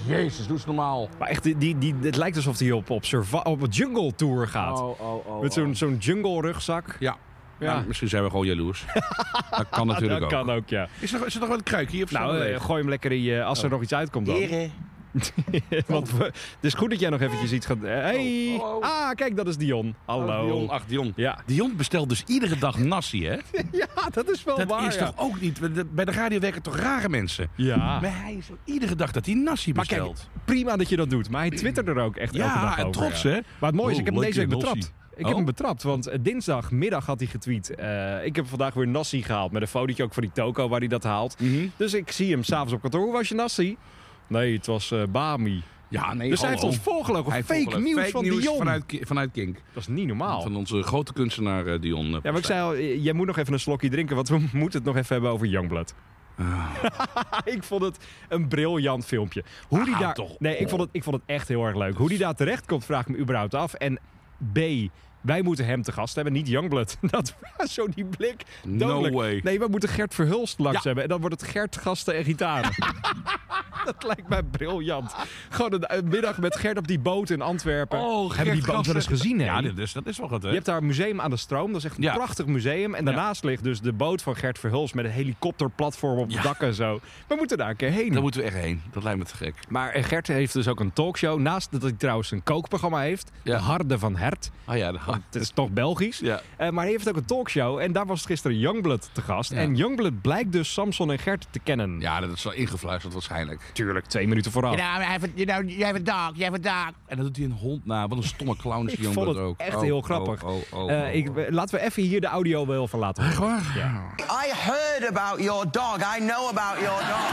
Speaker 4: Jezus, doe eens normaal.
Speaker 3: Maar echt, die, die, die- het lijkt alsof hij op, op, survi- op een jungle tour gaat.
Speaker 4: oh, oh.
Speaker 3: Met zo'n zo'n jungle rugzak.
Speaker 4: Ja.
Speaker 3: Ja.
Speaker 4: Nou, misschien zijn we gewoon jaloers. dat kan natuurlijk
Speaker 3: dat
Speaker 4: ook.
Speaker 3: kan ook, ja.
Speaker 4: Is, er, is er nog wel een kruikje hier? Of
Speaker 3: Nou,
Speaker 4: staat er
Speaker 3: eh,
Speaker 4: leeg? Oh.
Speaker 3: gooi hem lekker in je, als er nog iets uitkomt dan. Want we- het is goed dat jij nog eventjes iets gaat... eh, Hey!
Speaker 4: Oh, oh.
Speaker 3: Ah, kijk, dat is Dion. Hallo.
Speaker 4: Dion, ach Dion.
Speaker 3: Ja.
Speaker 4: Dion bestelt dus iedere dag nasi, hè?
Speaker 3: ja, dat is wel
Speaker 4: Dat
Speaker 3: waar,
Speaker 4: is
Speaker 3: ja.
Speaker 4: toch ook niet... bij de- Bij de radio werken toch rare mensen?
Speaker 3: Ja.
Speaker 4: Maar hij is iedere dag dat hij nasi
Speaker 3: Maar kijk,
Speaker 4: bestelt.
Speaker 3: prima dat je dat doet. Maar hij twittert er ook echt elke dag
Speaker 4: ja,
Speaker 3: over.
Speaker 4: en trots,
Speaker 3: ja.
Speaker 4: hè?
Speaker 3: Maar het mooie is, ik heb hem
Speaker 4: Oh,
Speaker 3: deze week
Speaker 4: lekker
Speaker 3: betrapt.
Speaker 4: nasi.
Speaker 3: Ik
Speaker 4: Oh.
Speaker 3: heb hem betrapt, want eh, dinsdagmiddag had hij getweet. eh, ik heb vandaag weer Nassi gehaald. Met een fotootje ook van die toko waar hij dat haalt.
Speaker 4: Mhm.
Speaker 3: Dus ik zie hem s'avonds op kantoor. Hoe was je Nassi? Nee, het was eh, Bami.
Speaker 4: Ja, nee,
Speaker 3: Dus hij heeft
Speaker 4: hallo.
Speaker 3: ons volgelogen.
Speaker 4: Hij
Speaker 3: Fake
Speaker 4: volgt het.
Speaker 3: nieuws
Speaker 4: Fake
Speaker 3: van
Speaker 4: nieuws
Speaker 3: Dion.
Speaker 4: Vanuit, Ki- vanuit Kink.
Speaker 3: Dat is niet normaal.
Speaker 4: Van onze grote kunstenaar eh, Dion. eh,
Speaker 3: Ja, maar ik zei al, eh, jij moet nog even een slokje drinken, want we moeten het nog even hebben over Youngblood.
Speaker 4: Oh.
Speaker 3: ik vond het een briljant filmpje. Hoe die
Speaker 4: Ah,
Speaker 3: daar...
Speaker 4: toch.
Speaker 3: Nee, ik vond, het, ik vond het echt heel erg leuk. Hoe die daar terecht komt, vraag ik me überhaupt af. En B, wij moeten hem te gast hebben, niet Youngblood. Dat was zo die blik.
Speaker 4: No
Speaker 3: Dodelijk.
Speaker 4: way.
Speaker 3: Nee, we moeten Gert Verhulst langs
Speaker 4: Ja.
Speaker 3: hebben. En dan wordt het Gert gasten en gitaren. Dat lijkt mij briljant. Gewoon een, een middag met Gert op die boot in Antwerpen.
Speaker 4: Oh, Gert
Speaker 3: Hebben die boot
Speaker 4: Gassen.
Speaker 3: wel eens gezien, hè?
Speaker 4: Ja, dat is, dat is wel wat, hè?
Speaker 3: Je hebt daar een museum aan de stroom. Dat is echt een
Speaker 4: Ja.
Speaker 3: prachtig museum. En daarnaast ligt dus de boot van Gert Verhulst met een helikopterplatform op het
Speaker 4: Ja.
Speaker 3: dak en zo. We moeten daar een keer heen.
Speaker 4: Daar moeten we echt heen. Dat lijkt me te gek.
Speaker 3: Maar eh, Gert heeft dus ook een talkshow. Naast dat hij trouwens een kookprogramma heeft.
Speaker 4: Ja.
Speaker 3: De Harde van Hert.
Speaker 4: Ah ja, dat
Speaker 3: Het is toch Belgisch.
Speaker 4: Ja.
Speaker 3: Eh, maar hij heeft ook een talkshow. En daar was gisteren Youngblood te gast.
Speaker 4: Ja.
Speaker 3: En Youngblood blijkt dus Samson en Gert te kennen.
Speaker 4: Ja, dat is wel ingefluisterd waarschijnlijk.
Speaker 3: Tuurlijk, twee minuten vooraf.
Speaker 4: Nou, hij heeft, nou, jij hebt dag, jij hebt dag. En dan doet hij een hond na. Wat een stomme clown is
Speaker 3: Ik
Speaker 4: die jongen
Speaker 3: vond het
Speaker 4: dat ook.
Speaker 3: echt
Speaker 4: Oh,
Speaker 3: heel
Speaker 4: oh,
Speaker 3: grappig.
Speaker 4: Oh, oh, oh,
Speaker 3: Eh, ik,
Speaker 4: oh.
Speaker 3: laten we even hier de audio wel van laten horen.
Speaker 1: I heard about your dog. I know about your dog.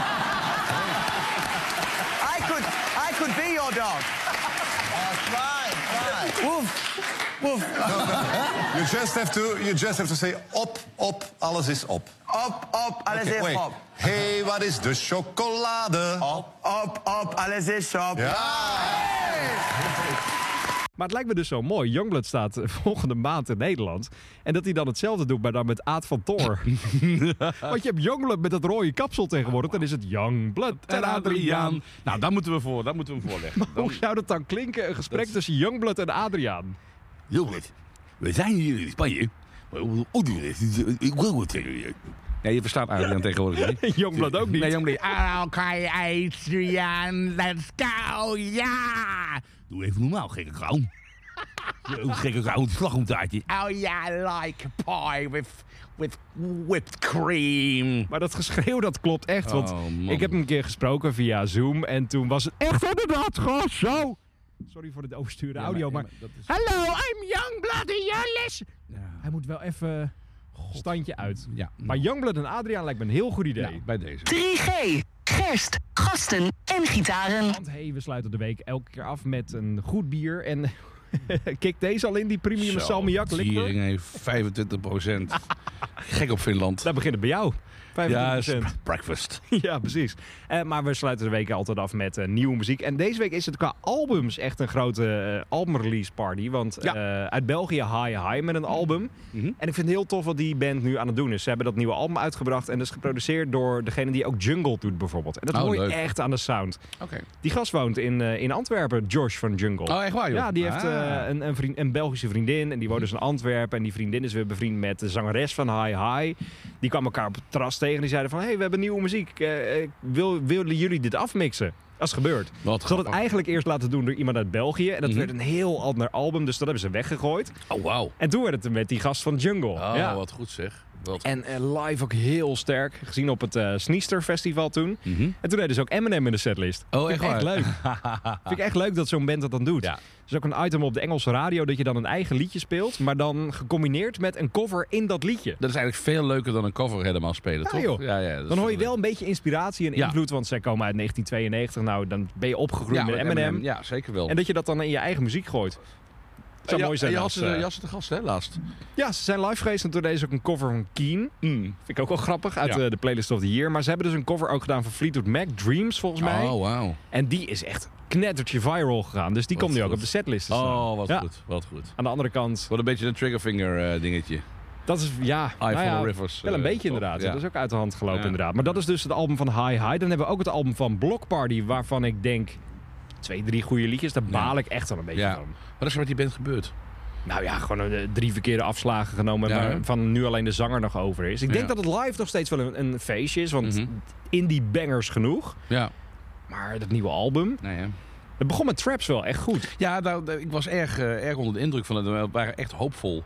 Speaker 1: I could, I could be your dog. Woof, woof.
Speaker 6: You just have to, you just have to say op, op, alles is op.
Speaker 1: Op, op, alles
Speaker 6: Okay,
Speaker 1: is
Speaker 6: wait.
Speaker 1: op.
Speaker 6: Hey, wat is de chocolade?
Speaker 1: Op, op, op, alles is op.
Speaker 6: Ja.
Speaker 3: Maar het lijkt me dus zo mooi. Youngblood staat eh, volgende maand in Nederland. En dat hij dan hetzelfde doet, maar dan met Aad van Toor. Want je hebt Youngblood met dat rode kapsel tegenwoordig. Dan is het Youngblood en
Speaker 4: En
Speaker 3: Adriaan.
Speaker 4: Adriaan. Nou, daar moeten we voor, daar moeten we hem voor leggen. Dan-
Speaker 3: Hoe zou dat dan klinken? Een gesprek tussen Youngblood en Adriaan.
Speaker 7: Jongens, we zijn hier in Spanje. Maar hoe doen we dit? Ik wil het tegen je.
Speaker 4: Ja, je verstaat Adriaan tegenwoordig niet.
Speaker 3: Youngblood ook niet.
Speaker 4: Nee, jongen, nee.
Speaker 7: Hallo, Kai, Adriaan, let's go, ja! Doe even normaal, gekke clown. Een gekke clown, slagroomtaartje. Oh ja, like a pie with, with whipped cream.
Speaker 3: Maar dat geschreeuw, dat klopt echt. Want
Speaker 4: Oh, man.
Speaker 3: ik heb hem een keer gesproken via Zoom. En toen was het echt inderdaad gewoon zo. Sorry voor het overstuurde audio, maar... Hallo, I'm Youngblood en Jallis. Hij moet wel even... Standje uit.
Speaker 4: Ja.
Speaker 3: Maar Youngblood en Adriaan lijkt me een heel goed idee.
Speaker 4: Ja, bij deze.
Speaker 5: 3G, gerst, gasten en gitaren.
Speaker 3: Want hey, we sluiten de week elke keer af met een goed bier. En kijk deze al in, die premium
Speaker 4: Zo,
Speaker 3: salmiak. liqueur.
Speaker 4: Tering heeft 25 Gek op Finland.
Speaker 3: Dat begint het bij jou. 25%.
Speaker 4: Ja,
Speaker 3: Ja,
Speaker 4: is breakfast.
Speaker 3: precies. Eh, maar we sluiten de week altijd af met eh, nieuwe muziek. En deze week is het qua albums echt een grote eh, albumrelease party. Want eh, uit België High High met
Speaker 4: Mhm.
Speaker 3: een album. En ik vind het heel tof wat die band nu aan het doen is. Ze hebben dat nieuwe album uitgebracht. En dat is geproduceerd door degene die ook Jungle doet bijvoorbeeld. En dat
Speaker 4: Oh,
Speaker 3: hoor je
Speaker 4: leuk.
Speaker 3: echt aan de sound.
Speaker 4: Oké.
Speaker 3: Die gast woont in, eh, in Antwerpen, Josh van Jungle.
Speaker 4: Oh, echt waar, joh?
Speaker 3: Ja, die heeft
Speaker 4: Ah.
Speaker 3: eh, een, een, vriend, een Belgische vriendin en die woont dus in Antwerpen. En die vriendin is weer bevriend met de zangeres van Hi Hi. Die kwamen elkaar op het terras tegen en die zeiden van... hey, we hebben nieuwe muziek. Eh, eh, wil, willen jullie dit afmixen? Dat is gebeurd.
Speaker 4: Wat
Speaker 3: Ze hadden het
Speaker 4: grappig. Mhm.
Speaker 3: eigenlijk eerst laten doen door iemand uit België. En dat werd een heel ander album, dus dat hebben ze weggegooid.
Speaker 4: Oh, wauw.
Speaker 3: En toen werd het met die gast van Jungle.
Speaker 4: Oh,
Speaker 3: ja.
Speaker 4: wat goed zeg. Wat...
Speaker 3: En eh, live ook heel sterk. Gezien op het eh Sneester Festival toen. En toen deden ze ook Eminem in de setlist.
Speaker 4: Mhm. Oh,
Speaker 3: Vind ik
Speaker 4: echt waar?
Speaker 3: leuk. Vind ik echt leuk dat zo'n band dat dan doet.
Speaker 4: Ja.
Speaker 3: Er is ook een item op de Engelse radio dat je dan een eigen liedje speelt. Maar dan gecombineerd met een cover in dat liedje.
Speaker 4: Dat is eigenlijk veel leuker dan een cover helemaal spelen,
Speaker 3: Ja,
Speaker 4: toch?
Speaker 3: joh.
Speaker 4: Ja, ja, dat is
Speaker 3: Dan hoor je
Speaker 4: leuk.
Speaker 3: wel een beetje inspiratie en
Speaker 4: Ja.
Speaker 3: invloed. Want zij komen uit 1992. Nou, dan ben je opgegroeid
Speaker 4: ja, M&M.
Speaker 3: met Eminem.
Speaker 4: Eminem. Ja, zeker wel.
Speaker 3: En dat je dat dan in je eigen muziek gooit. Het zou
Speaker 4: Ja,
Speaker 3: mooi zijn.
Speaker 4: en Je had
Speaker 3: als,
Speaker 4: ze
Speaker 3: eh,
Speaker 4: je had ze te gast, hè, laatst.
Speaker 3: Ja, ze zijn live geweest en toen deden ze ook een cover van Keen. Mm, Vind ik ook wel grappig, uit
Speaker 4: Ja.
Speaker 3: eh, de playlist of the year. Maar ze hebben dus een cover ook gedaan van Fleetwood Mac, Dreams volgens mij.
Speaker 4: Oh, wauw.
Speaker 3: En die is echt knettertje viral gegaan. Dus die
Speaker 4: Wat
Speaker 3: komt nu ook
Speaker 4: goed.
Speaker 3: op de setlist te staan.
Speaker 4: Oh, wat
Speaker 3: Ja.
Speaker 4: goed. Wat goed.
Speaker 3: Aan de andere kant,
Speaker 4: Wat een beetje een triggerfinger eh, dingetje.
Speaker 3: Dat is, ja,
Speaker 4: Eye
Speaker 3: nou
Speaker 4: for
Speaker 3: ja,
Speaker 4: Rivers,
Speaker 3: Wel een
Speaker 4: eh,
Speaker 3: beetje
Speaker 4: toch?
Speaker 3: inderdaad.
Speaker 4: Ja.
Speaker 3: Dat is ook uit de hand gelopen
Speaker 4: Ja.
Speaker 3: inderdaad. Maar dat is dus het album van High High. Dan hebben we ook het album van Block Party, waarvan ik denk... Twee, drie goede liedjes, daar baal ik echt wel een beetje
Speaker 4: Ja.
Speaker 3: van.
Speaker 4: Wat is er met die band gebeurd?
Speaker 3: Nou ja, gewoon eh, drie verkeerde afslagen genomen...
Speaker 4: Ja,
Speaker 3: waar
Speaker 4: hè?
Speaker 3: van nu alleen de zanger nog over is. Ik denk
Speaker 4: Ja.
Speaker 3: dat het live nog steeds wel een, een feestje is, want
Speaker 4: Mhm.
Speaker 3: indie bangers genoeg.
Speaker 4: Ja.
Speaker 3: Maar dat nieuwe album...
Speaker 4: Nee, hè?
Speaker 3: Het begon met traps wel echt goed.
Speaker 4: Ja, nou, d- ik was erg, eh, erg onder de indruk van het. We waren echt hoopvol.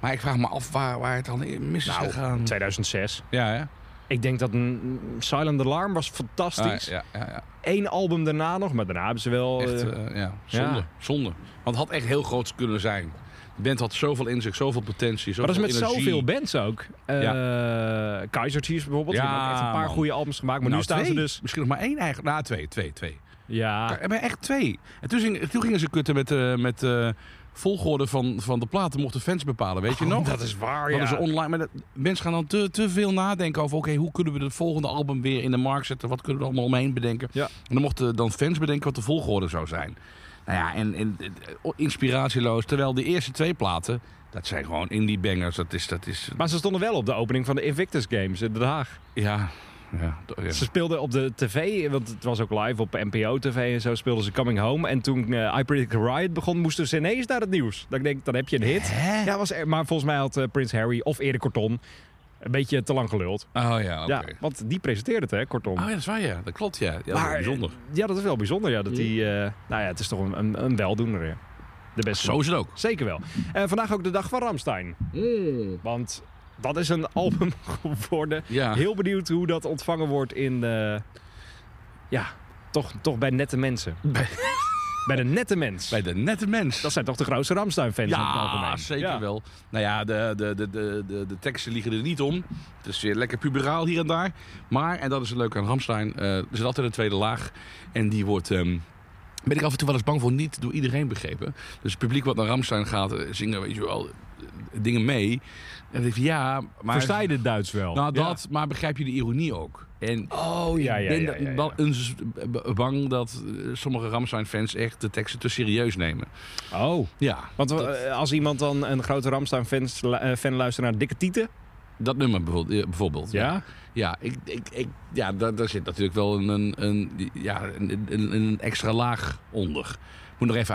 Speaker 4: Maar ik vraag me af waar, waar het dan in mis is gegaan.
Speaker 3: 2006.
Speaker 4: Ja, hè?
Speaker 3: Nou, Ik denk dat mm, Silent Alarm was
Speaker 4: Ah,
Speaker 3: fantastisch.
Speaker 4: ja, ja, ja.
Speaker 3: Eén album daarna nog, maar daarna hebben ze wel...
Speaker 4: Echt,
Speaker 3: eh,
Speaker 4: eh, ja. Zonde,
Speaker 3: ja.
Speaker 4: zonde. Want het had echt heel groot kunnen zijn. De band had zoveel in zich, zoveel potentie,
Speaker 3: Maar
Speaker 4: zoveel
Speaker 3: dat is met
Speaker 4: energie.
Speaker 3: zoveel bands ook. Eh Kaiser Chiefs bijvoorbeeld. die
Speaker 4: Ja,
Speaker 3: hebben ook echt een paar
Speaker 4: man.
Speaker 3: goede albums gemaakt. Maar
Speaker 4: Nou,
Speaker 3: nu staan
Speaker 4: twee.
Speaker 3: ze dus...
Speaker 4: Misschien nog maar één eigenlijk. Nou, twee, twee, twee.
Speaker 3: Ja,
Speaker 4: Er waren echt twee. En toen, ging- toen gingen ze kutten met, eh met eh, volgorde van, van de platen. Mochten fans bepalen, weet je nog?
Speaker 3: Oh, dat is waar,
Speaker 4: Hadden
Speaker 3: ja.
Speaker 4: ze online, maar dat- mensen gaan dan te, te veel nadenken over... oké, hoe kunnen we het volgende album weer in de markt zetten? Wat kunnen we er allemaal omheen bedenken?
Speaker 3: Ja.
Speaker 4: En dan mochten dan fans bedenken wat de volgorde zou zijn. Nou ja, en, en eh, inspiratieloos. Terwijl de eerste twee platen, dat zijn gewoon indie bangers. Dat is, dat is
Speaker 3: Maar ze stonden wel op de opening van de Invictus Games in Den Haag.
Speaker 4: ja... Ja, d- ja.
Speaker 3: Ze speelden op de tv, want het was ook live op NPO TV en zo speelden ze Coming Home. En toen eh, I Predict a Riot begon, moesten ze ineens naar het nieuws. Dan denk ik, dan heb je een hit. Ja, was er, maar volgens mij had eh, Prins Harry of Erik Kortom een beetje te lang geluld.
Speaker 4: Oh ja, oké.
Speaker 3: Ja, want die presenteerde het, hè, Kortom.
Speaker 4: Oh ja, dat is waar, ja. Dat klopt, ja. Ja,
Speaker 3: Maar,
Speaker 4: bijzonder.
Speaker 3: eh, Ja, dat is wel bijzonder. Ja, dat die, eh, nou ja, het is toch een, een, een weldoener. ja. De beste.
Speaker 4: Zo is het ook.
Speaker 3: Zeker wel. Eh, vandaag ook de dag van Ramstein. Want dat is een album geworden.
Speaker 4: Hmm. Ja.
Speaker 3: Heel benieuwd hoe dat ontvangen wordt in... eh, ja, toch, toch bij nette mensen. Bij, de nette mens.
Speaker 4: Bij de nette mens.
Speaker 3: Dat zijn toch de grootste Ramstein-fans in het
Speaker 4: Ja,
Speaker 3: algemeen.
Speaker 4: zeker
Speaker 3: Ja.
Speaker 4: wel. Nou ja, de, de, de, de, de, de teksten liggen er niet om. Het is weer lekker puberaal hier en daar. Maar, en dat is het leuke aan Ramstein, eh, er zit altijd een tweede laag. En die wordt, ehm, ben ik af en toe wel eens bang voor, niet door iedereen begrepen. Dus het publiek wat naar Ramstein gaat, eh, zingen weet je wel, eh, dingen mee. En dan denk ik, ja, maar...
Speaker 3: Versta je dit Duits wel?
Speaker 4: Nou,
Speaker 3: Ja.
Speaker 4: dat, maar begrijp je de ironie ook? En
Speaker 3: Oh, ja, ja,
Speaker 4: ik ben
Speaker 3: ja,
Speaker 4: dat-
Speaker 3: ja, ja.
Speaker 4: wel eens b- bang dat eh, sommige Ramstein-fans echt de teksten te serieus nemen.
Speaker 3: Oh.
Speaker 4: Ja,
Speaker 3: Want eh, als iemand dan een grote Ramstein-fan eh, fan luistert naar Dikke Tieten...
Speaker 4: dat nummer bijvoorbeeld. eh, bijvoorbeeld
Speaker 3: Ja?
Speaker 4: Ja, ik, ik, ik, ja daar, daar zit natuurlijk wel een, een, een, ja, een, een, een extra laag onder. Moet nog even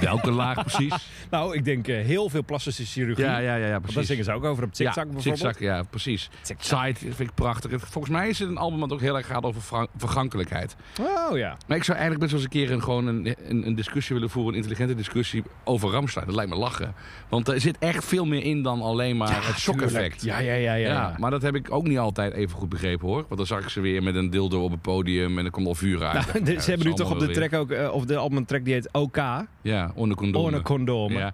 Speaker 4: welke laag precies.
Speaker 3: Nou, ik denk eh, heel veel plastische chirurgie.
Speaker 4: Ja, ja, ja, ja
Speaker 3: Want daar
Speaker 4: precies.
Speaker 3: zingen ze ook over op TikTok
Speaker 4: ja,
Speaker 3: bijvoorbeeld.
Speaker 4: Zigzag, ja, precies. Side vind ik prachtig. Het- Volgens mij is het een album dat ook heel erg gaat over vergan- vergankelijkheid.
Speaker 3: Oh ja.
Speaker 4: Maar ik zou eigenlijk best wel eens een keer een, gewoon een, een, een discussie willen voeren, een intelligente discussie over Ramstein. Dat lijkt me lachen. Want er zit echt veel meer in dan alleen maar het shock-effect.
Speaker 3: Ja, ja, ja, ja.
Speaker 4: Ja, maar dat heb ik ook niet altijd even goed begrepen hoor. Want dan zag ik ze weer met een dildo op het podium en er komt al vuur uit.
Speaker 3: Nou,
Speaker 4: Ja, dat
Speaker 3: ze hebben nu
Speaker 4: is
Speaker 3: toch op
Speaker 4: allemaal
Speaker 3: de
Speaker 4: wel
Speaker 3: track ook, eh, of de album track die heet OK,
Speaker 4: weer- Ja, onder condoom.
Speaker 3: Orne Condoom.
Speaker 4: Ja,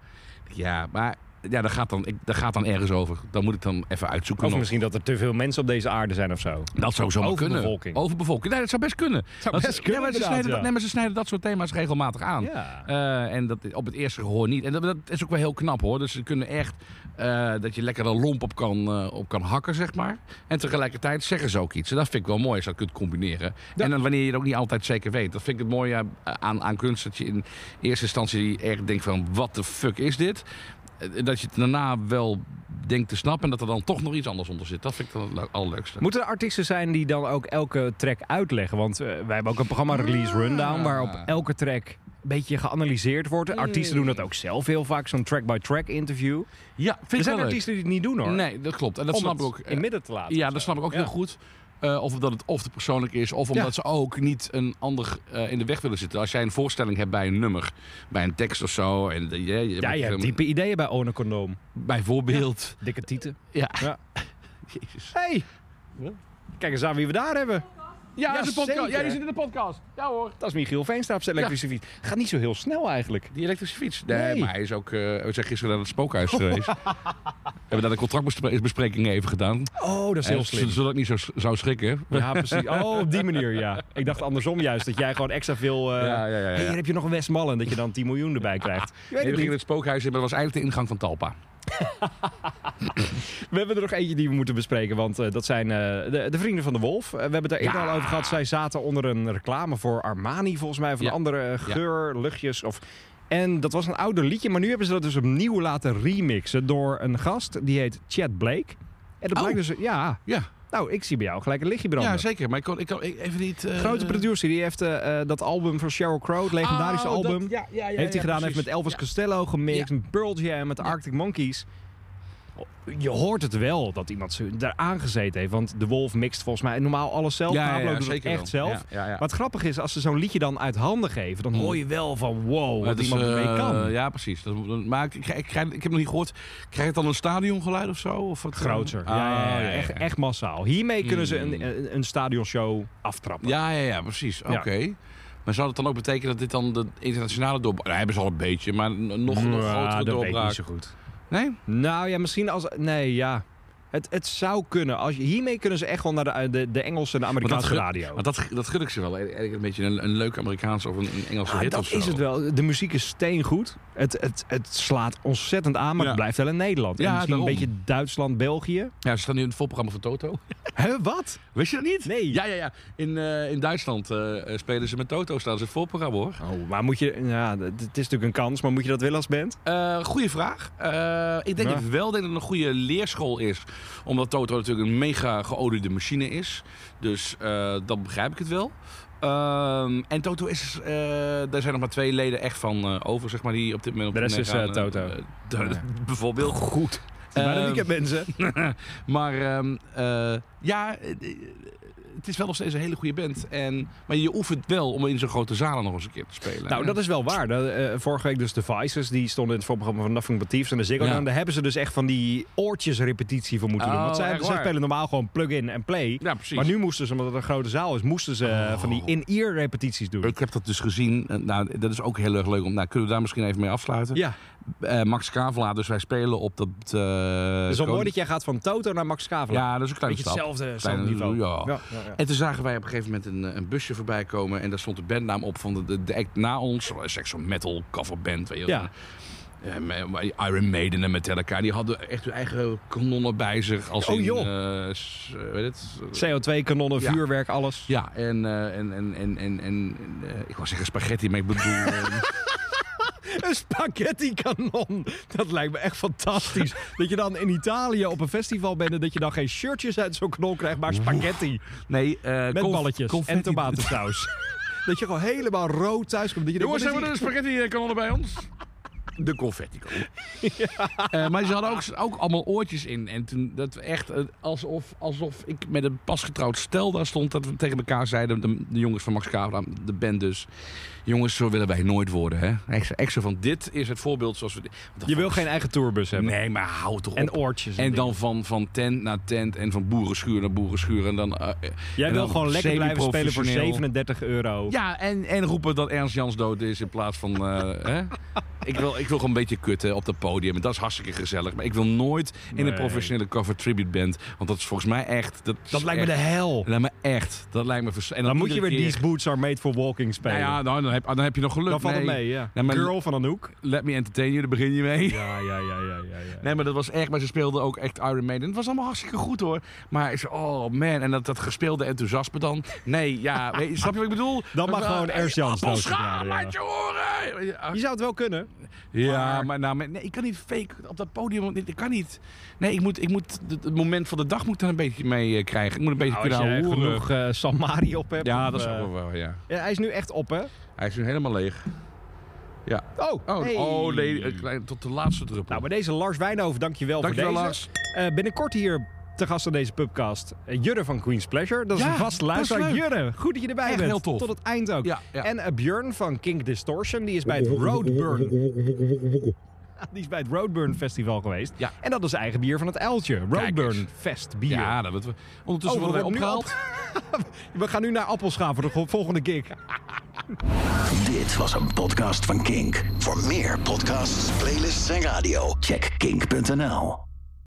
Speaker 4: ja maar ja, daar, gaat dan, ik, daar gaat dan ergens over. Dan moet ik dan even uitzoeken.
Speaker 3: Of
Speaker 4: nog.
Speaker 3: misschien dat er te veel mensen op deze aarde zijn of zo.
Speaker 4: Dat zou zomaar
Speaker 3: Overbevolking.
Speaker 4: kunnen. Overbevolking. Nee, dat zou best kunnen.
Speaker 3: Zou
Speaker 4: Want
Speaker 3: best
Speaker 4: ze-
Speaker 3: kunnen,
Speaker 4: Ja, maar, ze
Speaker 3: inderdaad,
Speaker 4: snijden,
Speaker 3: ja.
Speaker 4: dat, nee, maar ze snijden dat soort thema's regelmatig aan.
Speaker 3: Ja.
Speaker 4: Eh, en dat op het eerste gehoor niet. En dat, dat is ook wel heel knap hoor. Dus ze kunnen echt eh, dat je lekker een lomp op kan, eh, op kan hakken, zeg maar. En tegelijkertijd zeggen ze ook iets. En dat vind ik wel mooi als je dat kunt combineren. En dan wanneer je het ook niet altijd zeker weet. Dat vind ik het mooie aan- aan, aan kunst. Dat je in eerste instantie echt denkt van wat de fuck is dit? Eh, Dat je het daarna wel denkt te snappen en dat er dan toch nog iets anders onder zit. Dat vind ik dan het le- allerleukste.
Speaker 3: Moeten er artiesten zijn die dan ook elke track uitleggen? Want eh, wij hebben ook een programma Release Rundown, waarop elke track een beetje geanalyseerd wordt. Artiesten doen dat ook zelf heel vaak, zo'n track-by-track interview.
Speaker 4: Ja, vind
Speaker 3: Er zijn
Speaker 4: ik wel leuk.
Speaker 3: artiesten die het niet doen hoor.
Speaker 4: Nee, dat klopt. En dat
Speaker 3: Om
Speaker 4: snap
Speaker 3: het
Speaker 4: ik ook.
Speaker 3: in midden te laten.
Speaker 4: Ja,
Speaker 3: of
Speaker 4: dat
Speaker 3: zo.
Speaker 4: snap ik ook
Speaker 3: Ja.
Speaker 4: heel goed. Eh, of dat het of te persoonlijk is, of omdat ze ook niet een ander eh, in de weg willen zitten. Als jij een voorstelling hebt bij een nummer, bij een tekst of zo. En, de- je, je-
Speaker 3: Ja, je hebt diepe ideeën bij Orne Condoom.
Speaker 4: Bijvoorbeeld.
Speaker 3: Dikke tieten.
Speaker 4: Ja.
Speaker 3: Ja.
Speaker 4: Jezus.
Speaker 3: Hey! Kijk eens aan wie we daar hebben.
Speaker 4: Ja, dat is een podcast.
Speaker 3: zeker.
Speaker 4: Ja, die zit in de podcast. Ja hoor.
Speaker 3: Dat is Michiel Veenstra op zijn elektrische fiets. Gaat niet zo heel snel eigenlijk.
Speaker 4: Die elektrische fiets. Nee,
Speaker 3: Nee.
Speaker 4: maar hij is ook... eh, we zijn gisteren naar het spookhuis geweest. Hebben daar de contractbespreking even gedaan.
Speaker 3: Oh, dat is heel
Speaker 4: Eh,
Speaker 3: slim.
Speaker 4: Zodat ik niet zo s- zou schrikken.
Speaker 3: Ja, precies. Oh, op die manier, ja. Ik dacht andersom juist, dat jij gewoon extra veel... eh,
Speaker 4: Ja, ja, ja, ja.
Speaker 3: hey, hier heb je nog een Westmallen, dat je dan 10 miljoen erbij krijgt. Je weet
Speaker 4: Nee,
Speaker 3: het
Speaker 4: we gingen
Speaker 3: niet.
Speaker 4: het spookhuis in, maar dat was eigenlijk de ingang van Talpa.
Speaker 3: We hebben er nog eentje die we moeten bespreken, want eh, dat zijn eh, de, de vrienden van de Wolf. Eh, we hebben het daar eerder al over gehad. Zij zaten onder een reclame voor Armani, volgens mij. Van
Speaker 4: Ja.
Speaker 3: andere eh, geur, luchtjes of... En dat was een ouder liedje, maar nu hebben ze dat dus opnieuw laten remixen door een gast die heet Chad Blake. En dat blijkt dus, ja.
Speaker 4: Ja,
Speaker 3: Nou, ik zie bij jou gelijk een lichtje branden.
Speaker 4: ja zeker. Maar ik kan, ik kan ik- even niet... eh,
Speaker 3: Grote producer, die heeft eh, eh, dat album van Sheryl Crow, het legendarische
Speaker 4: Oh, dat-
Speaker 3: album.
Speaker 4: ja, ja, ja,
Speaker 3: heeft hij
Speaker 4: ja,
Speaker 3: gedaan, heeft
Speaker 4: precies.
Speaker 3: met Elvis Costello gemixt, met Pearl Jam, met de Arctic Monkeys. Je hoort het wel dat iemand ze daar aangezeten heeft. Want de Wolf mixt volgens mij normaal alles zelf.
Speaker 4: Ja, ja,
Speaker 3: Pablo
Speaker 4: ja,
Speaker 3: doet het
Speaker 4: zeker
Speaker 3: echt
Speaker 4: wel.
Speaker 3: zelf.
Speaker 4: Ja, ja, ja.
Speaker 3: Maar het grappige is, als ze zo'n liedje dan uit handen geven, dan hoor je wel van wow, wat
Speaker 4: Het is,
Speaker 3: iemand ermee
Speaker 4: eh,
Speaker 3: kan.
Speaker 4: Ja, precies. Dat, dat- maar ik, ik, ik, krijg- ik heb nog niet gehoord. Krijgt het dan een stadiongeluid of zo? Of wat,
Speaker 3: Groter.
Speaker 4: Ah,
Speaker 3: ja, ja, ja, Echt, echt massaal. Hiermee kunnen ze een,
Speaker 4: Mm.
Speaker 3: een, een stadionshow aftrappen.
Speaker 4: Ja, ja, ja, precies. Oké. Maar zou dat dan ook betekenen dat dit dan de internationale doorbraak... Nou, hebben ze al een beetje, maar een nog, nog
Speaker 3: Ja,
Speaker 4: grotere
Speaker 3: Nou, dat weet ik
Speaker 4: doorbraak.
Speaker 3: niet zo goed.
Speaker 4: Nee?
Speaker 3: Nou ja, misschien als... Nee, ja. Het, het zou kunnen. Als, je- hiermee kunnen ze echt wel naar de, de, de Engelse en de
Speaker 4: Want dat,
Speaker 3: Amerikaanse
Speaker 4: gun-
Speaker 3: radio.
Speaker 4: want dat, dat gun ik ze wel. Eigenlijk een beetje een, een leuk Amerikaans of een, een Engelse
Speaker 3: Ah,
Speaker 4: hit
Speaker 3: dat
Speaker 4: of zo.
Speaker 3: is het wel. De muziek is steengoed. Het, het, het slaat ontzettend aan, maar
Speaker 4: Ja.
Speaker 3: het blijft wel in Nederland.
Speaker 4: Ja,
Speaker 3: en misschien
Speaker 4: daarom.
Speaker 3: een beetje Duitsland, België.
Speaker 4: Ja, ze staan nu in het voorprogramma van Toto.
Speaker 3: Hè, wat?
Speaker 4: Wist je dat niet?
Speaker 3: Nee.
Speaker 4: Ja, ja, ja. In, eh, in Duitsland eh, eh, spelen ze met Toto, staan ze in het voorprogramma hoor.
Speaker 3: Oh, maar moet je... Ja, d- het is natuurlijk een kans, maar moet je dat willen als band?
Speaker 4: Eh goeie vraag. Eh, ik denk
Speaker 3: Ja.
Speaker 4: het wel. Ik denk dat het een goede leerschool is. Omdat Toto natuurlijk een mega geoliede machine is. Dus eh, dan begrijp ik het wel. Ehm, en Toto is... eh, daar zijn nog maar twee leden echt van eh, over, zeg maar, die op dit moment... op
Speaker 3: De rest
Speaker 4: tournee
Speaker 3: is,
Speaker 4: gaan.
Speaker 3: eh, Toto.
Speaker 4: Eh, de- Bijvoorbeeld. Goed.
Speaker 3: Maar
Speaker 4: Ehm,
Speaker 3: dat weekend, mensen.
Speaker 4: maar ehm, eh, ja, eh, eh, het is wel nog steeds een hele goede band. En, maar je oefent wel om in zo'n grote zalen nog eens een keer te spelen.
Speaker 3: Nou, dat is wel waar. Dat, eh, vorige week dus de Vices, die stonden in het voorprogramma van Nothing But Thieves en de Ziggo
Speaker 4: Ja.
Speaker 3: Dome. Daar hebben ze dus echt van die oortjes repetitie voor moeten doen.
Speaker 4: Oh,
Speaker 3: Want zij,
Speaker 4: echt
Speaker 3: zij
Speaker 4: waar?
Speaker 3: spelen normaal gewoon plug-in en play.
Speaker 4: Ja, precies. Oh.
Speaker 3: Maar nu moesten ze, omdat het een grote zaal is, moesten ze eh, van die in-ear repetities doen.
Speaker 4: Ik heb dat dus gezien. Eh, Nou, dat is ook heel erg leuk om. Nou, kunnen we daar misschien even mee afsluiten?
Speaker 3: Ja, Dus
Speaker 4: Eh, Max Kavelaar, dus wij spelen op dat. eh
Speaker 3: het is wel
Speaker 4: kon-
Speaker 3: mooi dat jij gaat van Toto naar Max Kavelaar.
Speaker 4: Ja, dat is een kleine
Speaker 3: Beetje
Speaker 4: stap.
Speaker 3: hetzelfde,
Speaker 4: Kleine-
Speaker 3: hetzelfde niveau.
Speaker 4: Ja.
Speaker 3: Ja, ja, ja.
Speaker 4: En toen zagen wij op een gegeven moment een, eh, een busje voorbij komen. En daar stond de bandnaam op van de, de, de act na ons. Eh, Sexual metal coverband. Weet je wel.
Speaker 3: Ja.
Speaker 4: Eh, me- maar die Iron Maiden en Metallica. Die hadden echt hun eigen kanonnen bij zich. Als
Speaker 3: Oh,
Speaker 4: in,
Speaker 3: joh.
Speaker 4: eh, s- eh, weet het?
Speaker 3: CO2-kanonnen,
Speaker 4: Ja.
Speaker 3: vuurwerk, alles.
Speaker 4: Ja, en, eh, en, en, en, en, en eh, ik wou zeggen spaghetti, maar ik bedoel... eh,
Speaker 3: Een spaghetti-kanon. Dat lijkt me echt fantastisch. dat je dan in Italië op een festival bent en dat je dan geen shirtjes uit zo'n knol krijgt, maar spaghetti.
Speaker 4: nee, eh,
Speaker 3: Met
Speaker 4: conf-
Speaker 3: balletjes en
Speaker 4: confetti-
Speaker 3: tomatensaus. dat je gewoon helemaal rood thuis komt. Dat je denkt,
Speaker 4: Jongens, hebben
Speaker 3: wat
Speaker 4: we
Speaker 3: is
Speaker 4: de spaghetti-kanonnen bij ons? De confetti Eh, maar ze hadden ook, ook allemaal oortjes in. En toen dat we echt eh, alsof, alsof ik met een pasgetrouwd stel daar stond... dat we tegen elkaar zeiden, de, de jongens van Max Kavra, de band dus... jongens, zo willen wij nooit worden, hè? Echt zo- Echt zo van, dit is het voorbeeld zoals we... dit-
Speaker 3: dit? je wil geen eigen tourbus hebben.
Speaker 4: Nee, maar hou toch
Speaker 3: En
Speaker 4: op.
Speaker 3: oortjes.
Speaker 4: En dan van, van tent naar tent en van boerenschuur naar boerenschuur. En dan, eh,
Speaker 3: Jij
Speaker 4: en
Speaker 3: wil
Speaker 4: dan
Speaker 3: gewoon lekker blijven spelen voor
Speaker 4: semi-professioneel.
Speaker 3: 37 euro.
Speaker 4: Ja, en, en roepen dat Ernst Jans dood is in plaats van... eh, hè? Ik, wil, ik wil gewoon een beetje kutten op dat podium. En dat is hartstikke gezellig. Maar ik wil nooit in
Speaker 3: Nee.
Speaker 4: een professionele cover tribute band. Want dat is volgens mij echt... Dat, is
Speaker 3: dat lijkt me de
Speaker 4: echt-
Speaker 3: hel.
Speaker 4: Dat lijkt me echt. Dat lijkt me... vers- En
Speaker 3: Dan moet je weer
Speaker 4: iedere
Speaker 3: These
Speaker 4: keer-
Speaker 3: Boots Are Made For Walking spelen.
Speaker 4: Nou ja, nou, dan, heb, dan heb je nog geluk.
Speaker 3: dan valt het
Speaker 4: Nee.
Speaker 3: mee, ja.
Speaker 4: Nee, maar-
Speaker 3: Girl van Anouk.
Speaker 4: Let me entertain you, daar begin je mee.
Speaker 3: Ja, ja, ja, ja, ja. ja.
Speaker 4: Nee, maar dat was echt. Maar ze speelden ook echt Iron Maiden. Het was allemaal hartstikke goed hoor. Maar ik zei, oh man, en dat, dat gespeelde enthousiasme dan. Nee, ja, weet je, snap je wat ik bedoel?
Speaker 3: Dan mag
Speaker 4: Eh,
Speaker 3: gewoon Ernst
Speaker 4: eh,
Speaker 3: Jans
Speaker 4: Appelscha,
Speaker 3: doodgedraaid, ja.
Speaker 4: laat je horen! Weet je, ah,
Speaker 3: Je zou het wel kunnen.
Speaker 4: Ja, maar nou, maar- nee, ik kan niet fake op dat podium. want dit- Ik kan niet. Nee, ik moet, ik moet het- het moment van de dag moet ik daar een beetje mee eh, krijgen. Ik moet een beetje
Speaker 3: Nou, als
Speaker 4: kunnen
Speaker 3: jij
Speaker 4: horen.
Speaker 3: genoeg eh, Samari op hebt.
Speaker 4: Ja,
Speaker 3: of,
Speaker 4: dat is
Speaker 3: eh,
Speaker 4: ook wel wel, ja.
Speaker 3: ja, Hij is nu echt op, hè?
Speaker 4: Hij is nu helemaal leeg. Ja.
Speaker 3: Oh,
Speaker 4: Oh,
Speaker 3: hey.
Speaker 4: oh nee, een klein- tot de laatste druppel.
Speaker 3: Nou, bij deze Lars Wijnhoven, dankjewel,
Speaker 4: Dankjewel,
Speaker 3: voor deze.
Speaker 4: Lars.
Speaker 3: Eh, binnenkort hier te gast aan deze pubcast eh, Jurre van Queen's Pleasure. Dat is
Speaker 4: Ja,
Speaker 3: een vast
Speaker 4: dat is
Speaker 3: luisteraar.
Speaker 4: leuk.
Speaker 3: Jurre, goed dat je erbij
Speaker 4: Echt
Speaker 3: bent.
Speaker 4: heel tof.
Speaker 3: Tot het eind ook.
Speaker 4: Ja, ja.
Speaker 3: En eh, Björn van King Distortion, die is bij het Roadburn. Die is bij het Roadburn Festival geweest.
Speaker 4: Ja.
Speaker 3: En dat is eigen bier van het Uiltje. Roadburn
Speaker 4: eens.
Speaker 3: Fest bier.
Speaker 4: ja, dat wordt. Ondertussen
Speaker 3: Oh, we
Speaker 4: worden wij
Speaker 3: worden nu
Speaker 4: opgehaald.
Speaker 3: We gaan nu naar Appelscha voor de go- volgende gig.
Speaker 8: Dit was een podcast van Kink. Voor meer podcasts, playlists en radio, check kink.nl.